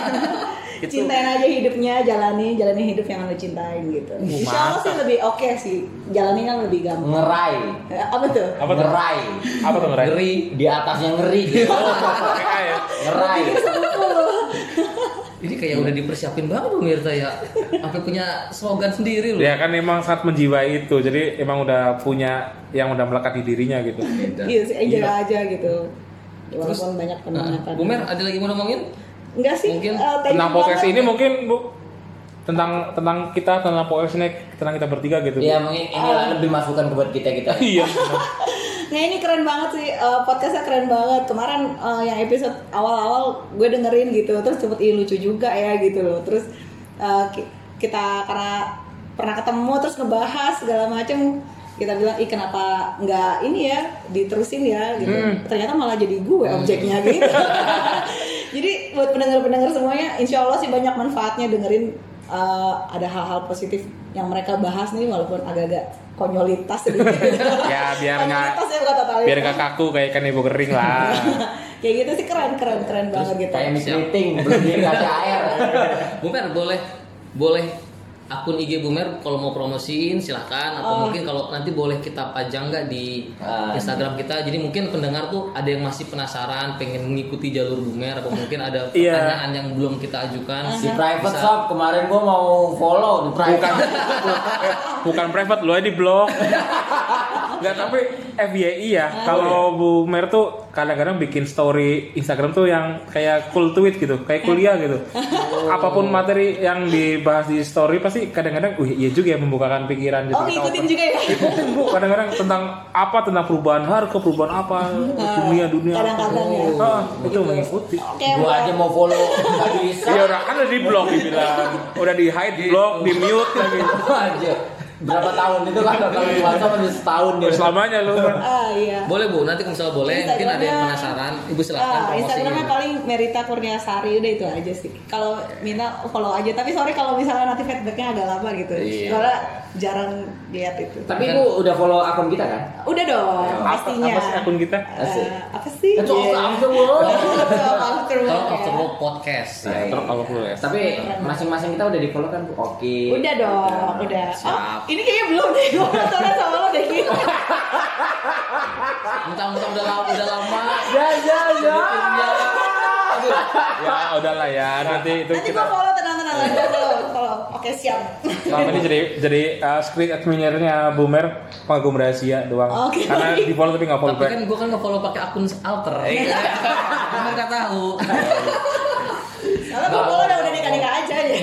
Speaker 3: cintain aja hidupnya jalani jalani hidup yang lo cintain gitu insya Allah sih lebih oke sih jalani kan lebih gampang
Speaker 2: Ngerai.
Speaker 3: Eh, apa tuh
Speaker 1: Apa tuh? Oh,
Speaker 2: Ngerai.
Speaker 1: Apa tuh ngerai?
Speaker 4: ngeri
Speaker 2: Di atasnya ngeri gitu.
Speaker 1: PKI ya.
Speaker 2: Ngerai.
Speaker 4: ini kayak udah dipersiapin banget bu Mirta ya sampai punya slogan sendiri loh
Speaker 1: Ya kan emang sangat menjiwai itu. Jadi emang udah punya yang udah melekat di dirinya gitu.
Speaker 3: iya sih enjoy aja gitu walaupun banyak penolakan
Speaker 4: Bu Mer ada lagi mau ngomongin
Speaker 3: Enggak sih.
Speaker 4: Mungkin
Speaker 3: eh, thank
Speaker 1: Tentang
Speaker 3: you
Speaker 1: podcast
Speaker 3: banget.
Speaker 1: ini mungkin Bu tentang tentang kita tentang podcast ini tentang kita bertiga gitu. Bu.
Speaker 2: Ya mungkin inilah lebih masukan buat kita kita.
Speaker 1: Iya.
Speaker 3: Nah ini keren banget sih eh, podcastnya keren banget. Kemarin eh, yang episode awal-awal gue dengerin gitu, terus cepet ih lucu juga ya gitu loh. Terus eh, ki- kita karena pernah ketemu terus ngebahas segala macem kita bilang ih kenapa nggak ini ya diterusin ya gitu ternyata malah jadi gue objeknya gitu jadi buat pendengar-pendengar semuanya insya Allah sih banyak manfaatnya dengerin eh, ada hal-hal positif yang mereka bahas nih walaupun agak-agak konyolitas sedikit
Speaker 1: Ya biar nggak
Speaker 3: Totalitas ya, bukan totalitas.
Speaker 1: biar nggak kaku kayak kan ibu kering lah.
Speaker 3: kayak gitu sih keren keren keren banget gitu
Speaker 2: Kayak meeting belum dikasih air.
Speaker 4: Bu Mer boleh boleh akun IG Bu Mer kalau mau promosiin silahkan atau
Speaker 3: Oh. iya.
Speaker 4: mungkin kalau nanti boleh kita pajang nggak di
Speaker 2: Ah,
Speaker 4: Instagram kita jadi mungkin pendengar tuh ada yang masih penasaran pengen mengikuti jalur Bu Mer atau mungkin ada
Speaker 1: Iya.
Speaker 4: pertanyaan yang belum kita
Speaker 3: Ah.
Speaker 4: ajukan
Speaker 2: Di private shop kemarin gua mau follow di private.
Speaker 1: Bukan private loh ini blog. Nggak tapi FYI ya.
Speaker 3: Ah.
Speaker 1: Kalau Bu Mer tuh kadang-kadang bikin story Instagram tuh yang kayak cool tweet gitu, kayak kuliah gitu.
Speaker 3: Oh.
Speaker 1: Apapun materi yang dibahas di story pasti kadang-kadang, wih iya juga ya membukakan pikiran.
Speaker 3: oh
Speaker 1: kita
Speaker 3: ngikutin
Speaker 1: open.
Speaker 3: juga ya
Speaker 1: Ngikutin, Bu kadang-kadang tentang apa tentang perubahan harga, perubahan apa dunia dunia.
Speaker 3: kadang-kadang ya
Speaker 1: apa. Ah, itu mengikuti.
Speaker 3: oke
Speaker 2: Gua
Speaker 3: buat
Speaker 2: aja mau follow nggak bisa.
Speaker 1: Iya udah kan udah di blog dibilang, udah di hide blog, di mute lagi.
Speaker 2: Gua aja. berapa tahun itu kan kalau di WhatsApp kan setahun dia.
Speaker 1: selamanya lu kan.
Speaker 3: ah iya
Speaker 4: Boleh Bu, nanti kalau misalnya boleh, mungkin ada yang penasaran, Ibu silahkan
Speaker 3: Ah, Instagramnya
Speaker 4: promosiin.
Speaker 3: paling Merita Kurniasari udah itu aja sih. Kalau Mina follow aja, tapi sorry kalau misalnya nanti feedbacknya agak lama gitu.
Speaker 4: Iya.
Speaker 3: Soalnya jarang lihat itu.
Speaker 2: Tapi lu udah follow akun kita kan?
Speaker 3: Udah dong,
Speaker 1: apa,
Speaker 3: pastinya.
Speaker 1: apa sih akun kita
Speaker 3: Eh, apa sih?
Speaker 2: Itu
Speaker 3: Iya.
Speaker 2: after world.
Speaker 3: Talk after work
Speaker 4: Talk
Speaker 3: ya.
Speaker 4: After Work Podcast.
Speaker 2: Iya.
Speaker 1: terus kalau lu ya
Speaker 2: Tapi masing-masing kita udah di follow kan? Oke.
Speaker 3: Udah dong, udah.
Speaker 4: Siap.
Speaker 3: Oh, ini kayaknya belum deh. Gue penasaran sama lo deh. Ki.
Speaker 4: Mentang-mentang udah lama, udah lama.
Speaker 2: Ya ya
Speaker 4: iya.
Speaker 2: ya.
Speaker 4: Punya. Aduh,
Speaker 1: ya udahlah ya nanti itu
Speaker 3: Nanti gue
Speaker 1: kita
Speaker 3: follow tenang-tenang aja. Follow, follow. Oke siap.
Speaker 1: selama ini jadi jadi uh, screen adminernya Boomer pengagum rahasia doang
Speaker 3: Oke.
Speaker 1: karena di follow tapi nggak follow
Speaker 4: Tapi
Speaker 1: back
Speaker 4: kan gue kan nge-follow pakai akun alter.
Speaker 2: Iya.
Speaker 4: Bener gak tahu.
Speaker 3: Soalnya gue follow udah udah nikah-nikah aja ya.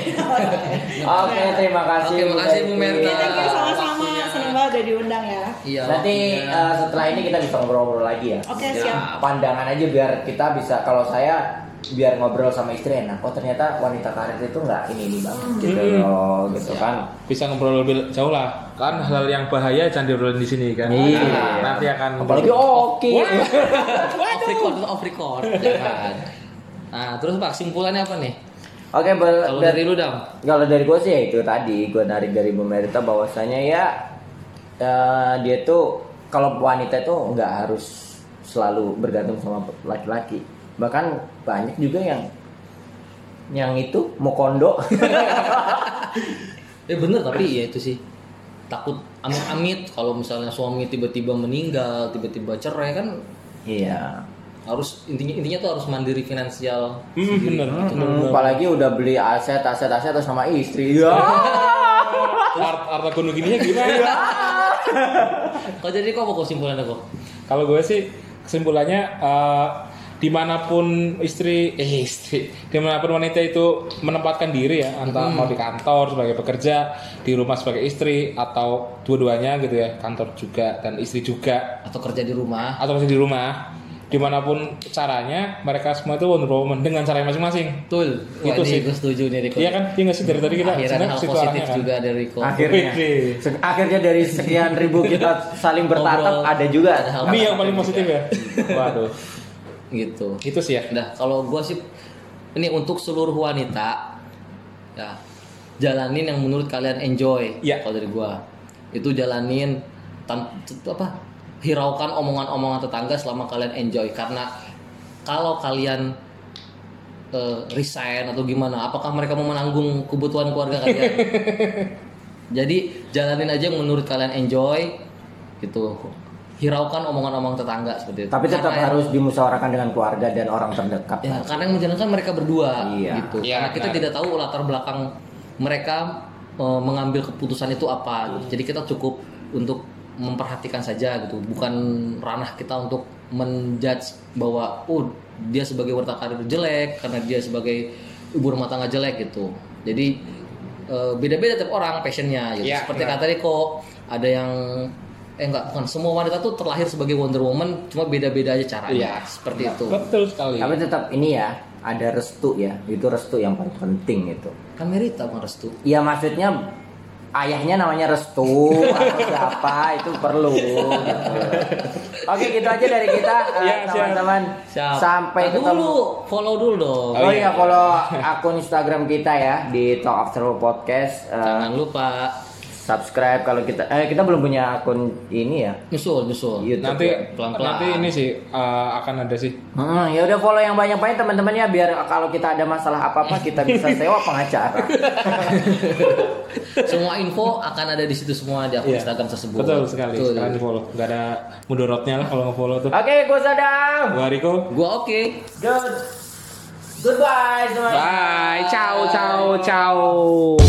Speaker 2: Oke, terima kasih.
Speaker 4: Oke, makasih Bu Merta.
Speaker 3: Kita kayak sama-sama seneng banget udah diundang ya.
Speaker 4: Iya.
Speaker 2: Nanti
Speaker 4: waktunya.
Speaker 2: eh, setelah ini kita bisa ngobrol-ngobrol lagi ya.
Speaker 3: Oke
Speaker 4: Ya.
Speaker 3: siap.
Speaker 2: Pandangan aja biar kita bisa kalau saya biar ngobrol sama istri enak. Oh ternyata wanita karir itu nggak ini ini banget gitu loh, gitu kan.
Speaker 1: bisa ngobrol lebih jauh lah kan hal-hal yang bahaya jangan diobrolin di sini kan
Speaker 2: Iya.
Speaker 1: Nah, nanti akan
Speaker 2: Apalagi oke.
Speaker 4: off record, itu off record. Jangan. Nah, terus Pak, simpulannya apa nih?
Speaker 2: Oke, ber-
Speaker 4: Kalau
Speaker 2: dari
Speaker 4: dari lu dam,
Speaker 2: kalau dari gue sih ya itu tadi gue narik dari pemerintah bahwasanya ya eh, dia tuh kalau wanita itu nggak harus selalu bergantung sama laki-laki. Bahkan banyak juga yang yang itu mau kondo.
Speaker 4: Eh bener tapi ya itu sih takut amit-amit kalau misalnya suami tiba-tiba meninggal, tiba-tiba cerai kan
Speaker 2: Iya.
Speaker 4: harus intinya intinya tuh harus mandiri finansial.
Speaker 1: hmm, bener
Speaker 4: Ah,
Speaker 2: Hmm, apalagi udah beli aset, aset, aset terus sama istri.
Speaker 4: Iya.
Speaker 2: Ya.
Speaker 1: Art, harta gunung gininya
Speaker 4: Iya.
Speaker 1: gimana
Speaker 4: Kalau jadi kok apa kok simpulannya kok?
Speaker 1: Kalau gue sih kesimpulannya eh, dimanapun istri eh istri dimanapun wanita itu menempatkan diri ya antara
Speaker 4: Hmm.
Speaker 1: mau di kantor sebagai pekerja di rumah sebagai istri atau dua-duanya gitu ya kantor juga dan istri juga
Speaker 4: Atau kerja di rumah?
Speaker 1: atau masih di rumah dimanapun caranya mereka semua itu Wonder Woman dengan caranya masing-masing
Speaker 4: Betul. Wah,
Speaker 1: Itu
Speaker 4: ini
Speaker 1: sih.
Speaker 4: Gue setuju nih Riko.
Speaker 1: iya kan iya nggak sih dari tadi kita
Speaker 4: Akhirnya ada
Speaker 1: sebenarnya
Speaker 4: hal
Speaker 1: situ
Speaker 4: positif
Speaker 1: arahnya kan.
Speaker 4: juga dari Riko.
Speaker 2: Akhirnya,
Speaker 1: Wih.
Speaker 2: se- akhirnya dari sekian ribu kita saling bertatap
Speaker 4: Ngobrol.
Speaker 2: ada juga.
Speaker 4: Ada hal-
Speaker 1: ini yang paling positif ya
Speaker 4: Iya.
Speaker 1: waduh
Speaker 4: Gitu.
Speaker 1: itu sih ya
Speaker 4: Nah, kalau gua sih ini untuk seluruh wanita ya jalanin yang menurut kalian enjoy.
Speaker 1: Iya.
Speaker 4: Kalau dari gua itu jalanin tan- apa? Hiraukan omongan-omongan tetangga selama kalian enjoy karena kalau kalian eh, resign atau gimana, apakah mereka mau menanggung kebutuhan keluarga kalian? Jadi jalanin aja yang menurut kalian enjoy gitu. Hiraukan omongan-omongan tetangga seperti itu.
Speaker 2: Tapi tetap
Speaker 4: Karena-
Speaker 2: harus dimusyawarahkan dengan keluarga dan orang terdekat.
Speaker 4: ya karena yang menjalankan mereka berdua
Speaker 2: Iya.
Speaker 4: gitu
Speaker 1: Iya,
Speaker 4: karena kita
Speaker 1: benar.
Speaker 4: tidak tahu latar belakang mereka eh, mengambil keputusan itu apa gitu. jadi kita cukup untuk memperhatikan saja gitu bukan ranah kita untuk menjudge bahwa oh dia sebagai warta karir jelek karena dia sebagai ibu rumah tangga jelek gitu jadi eh, beda-beda tiap orang passionnya gitu
Speaker 1: Iya,
Speaker 4: seperti
Speaker 1: benar.
Speaker 4: kata Riko ada yang eh enggak bukan semua wanita tuh terlahir sebagai Wonder Woman cuma beda-beda aja caranya
Speaker 1: Iya,
Speaker 4: seperti itu
Speaker 1: betul sekali
Speaker 2: Tapi tetap ini ya, ada restu ya. Itu restu yang paling penting itu.
Speaker 4: kan Merita bukan restu
Speaker 2: Ya maksudnya ayahnya namanya restu atau siapa itu perlu. gitu. Oke, gitu aja dari kita eh,
Speaker 1: Iya, siap.
Speaker 2: teman-teman.
Speaker 4: Siap.
Speaker 2: Sampai
Speaker 4: Nah,
Speaker 2: ketemu.
Speaker 4: dulu, follow dulu dong.
Speaker 2: Oh, iya, follow akun Instagram kita ya di Talk After Work Podcast. Eh,
Speaker 4: Jangan lupa
Speaker 2: subscribe kalau kita eh kita belum punya akun ini ya.
Speaker 4: nyusul, nyusul.
Speaker 2: YouTube
Speaker 1: nanti
Speaker 2: ya.
Speaker 4: Pelan-pelan.
Speaker 1: nanti ini sih eh, akan ada sih
Speaker 2: Hmm, ya udah follow yang banyak-banyak teman-teman ya biar kalau kita ada masalah apa-apa kita bisa sewa pengacara.
Speaker 4: Semua info akan ada di situ semua di akun
Speaker 1: Iya.
Speaker 4: Instagram tersebut.
Speaker 1: Betul sekali.
Speaker 4: Betul.
Speaker 1: Sekarang di follow. Gak ada mudorotnya lah kalau nge-follow tuh.
Speaker 2: Oke, gue sadang.
Speaker 1: Gua Riko.
Speaker 4: Gua oke.
Speaker 2: Good. Goodbye semuanya.
Speaker 1: Bye. Ciao, ciao, ciao.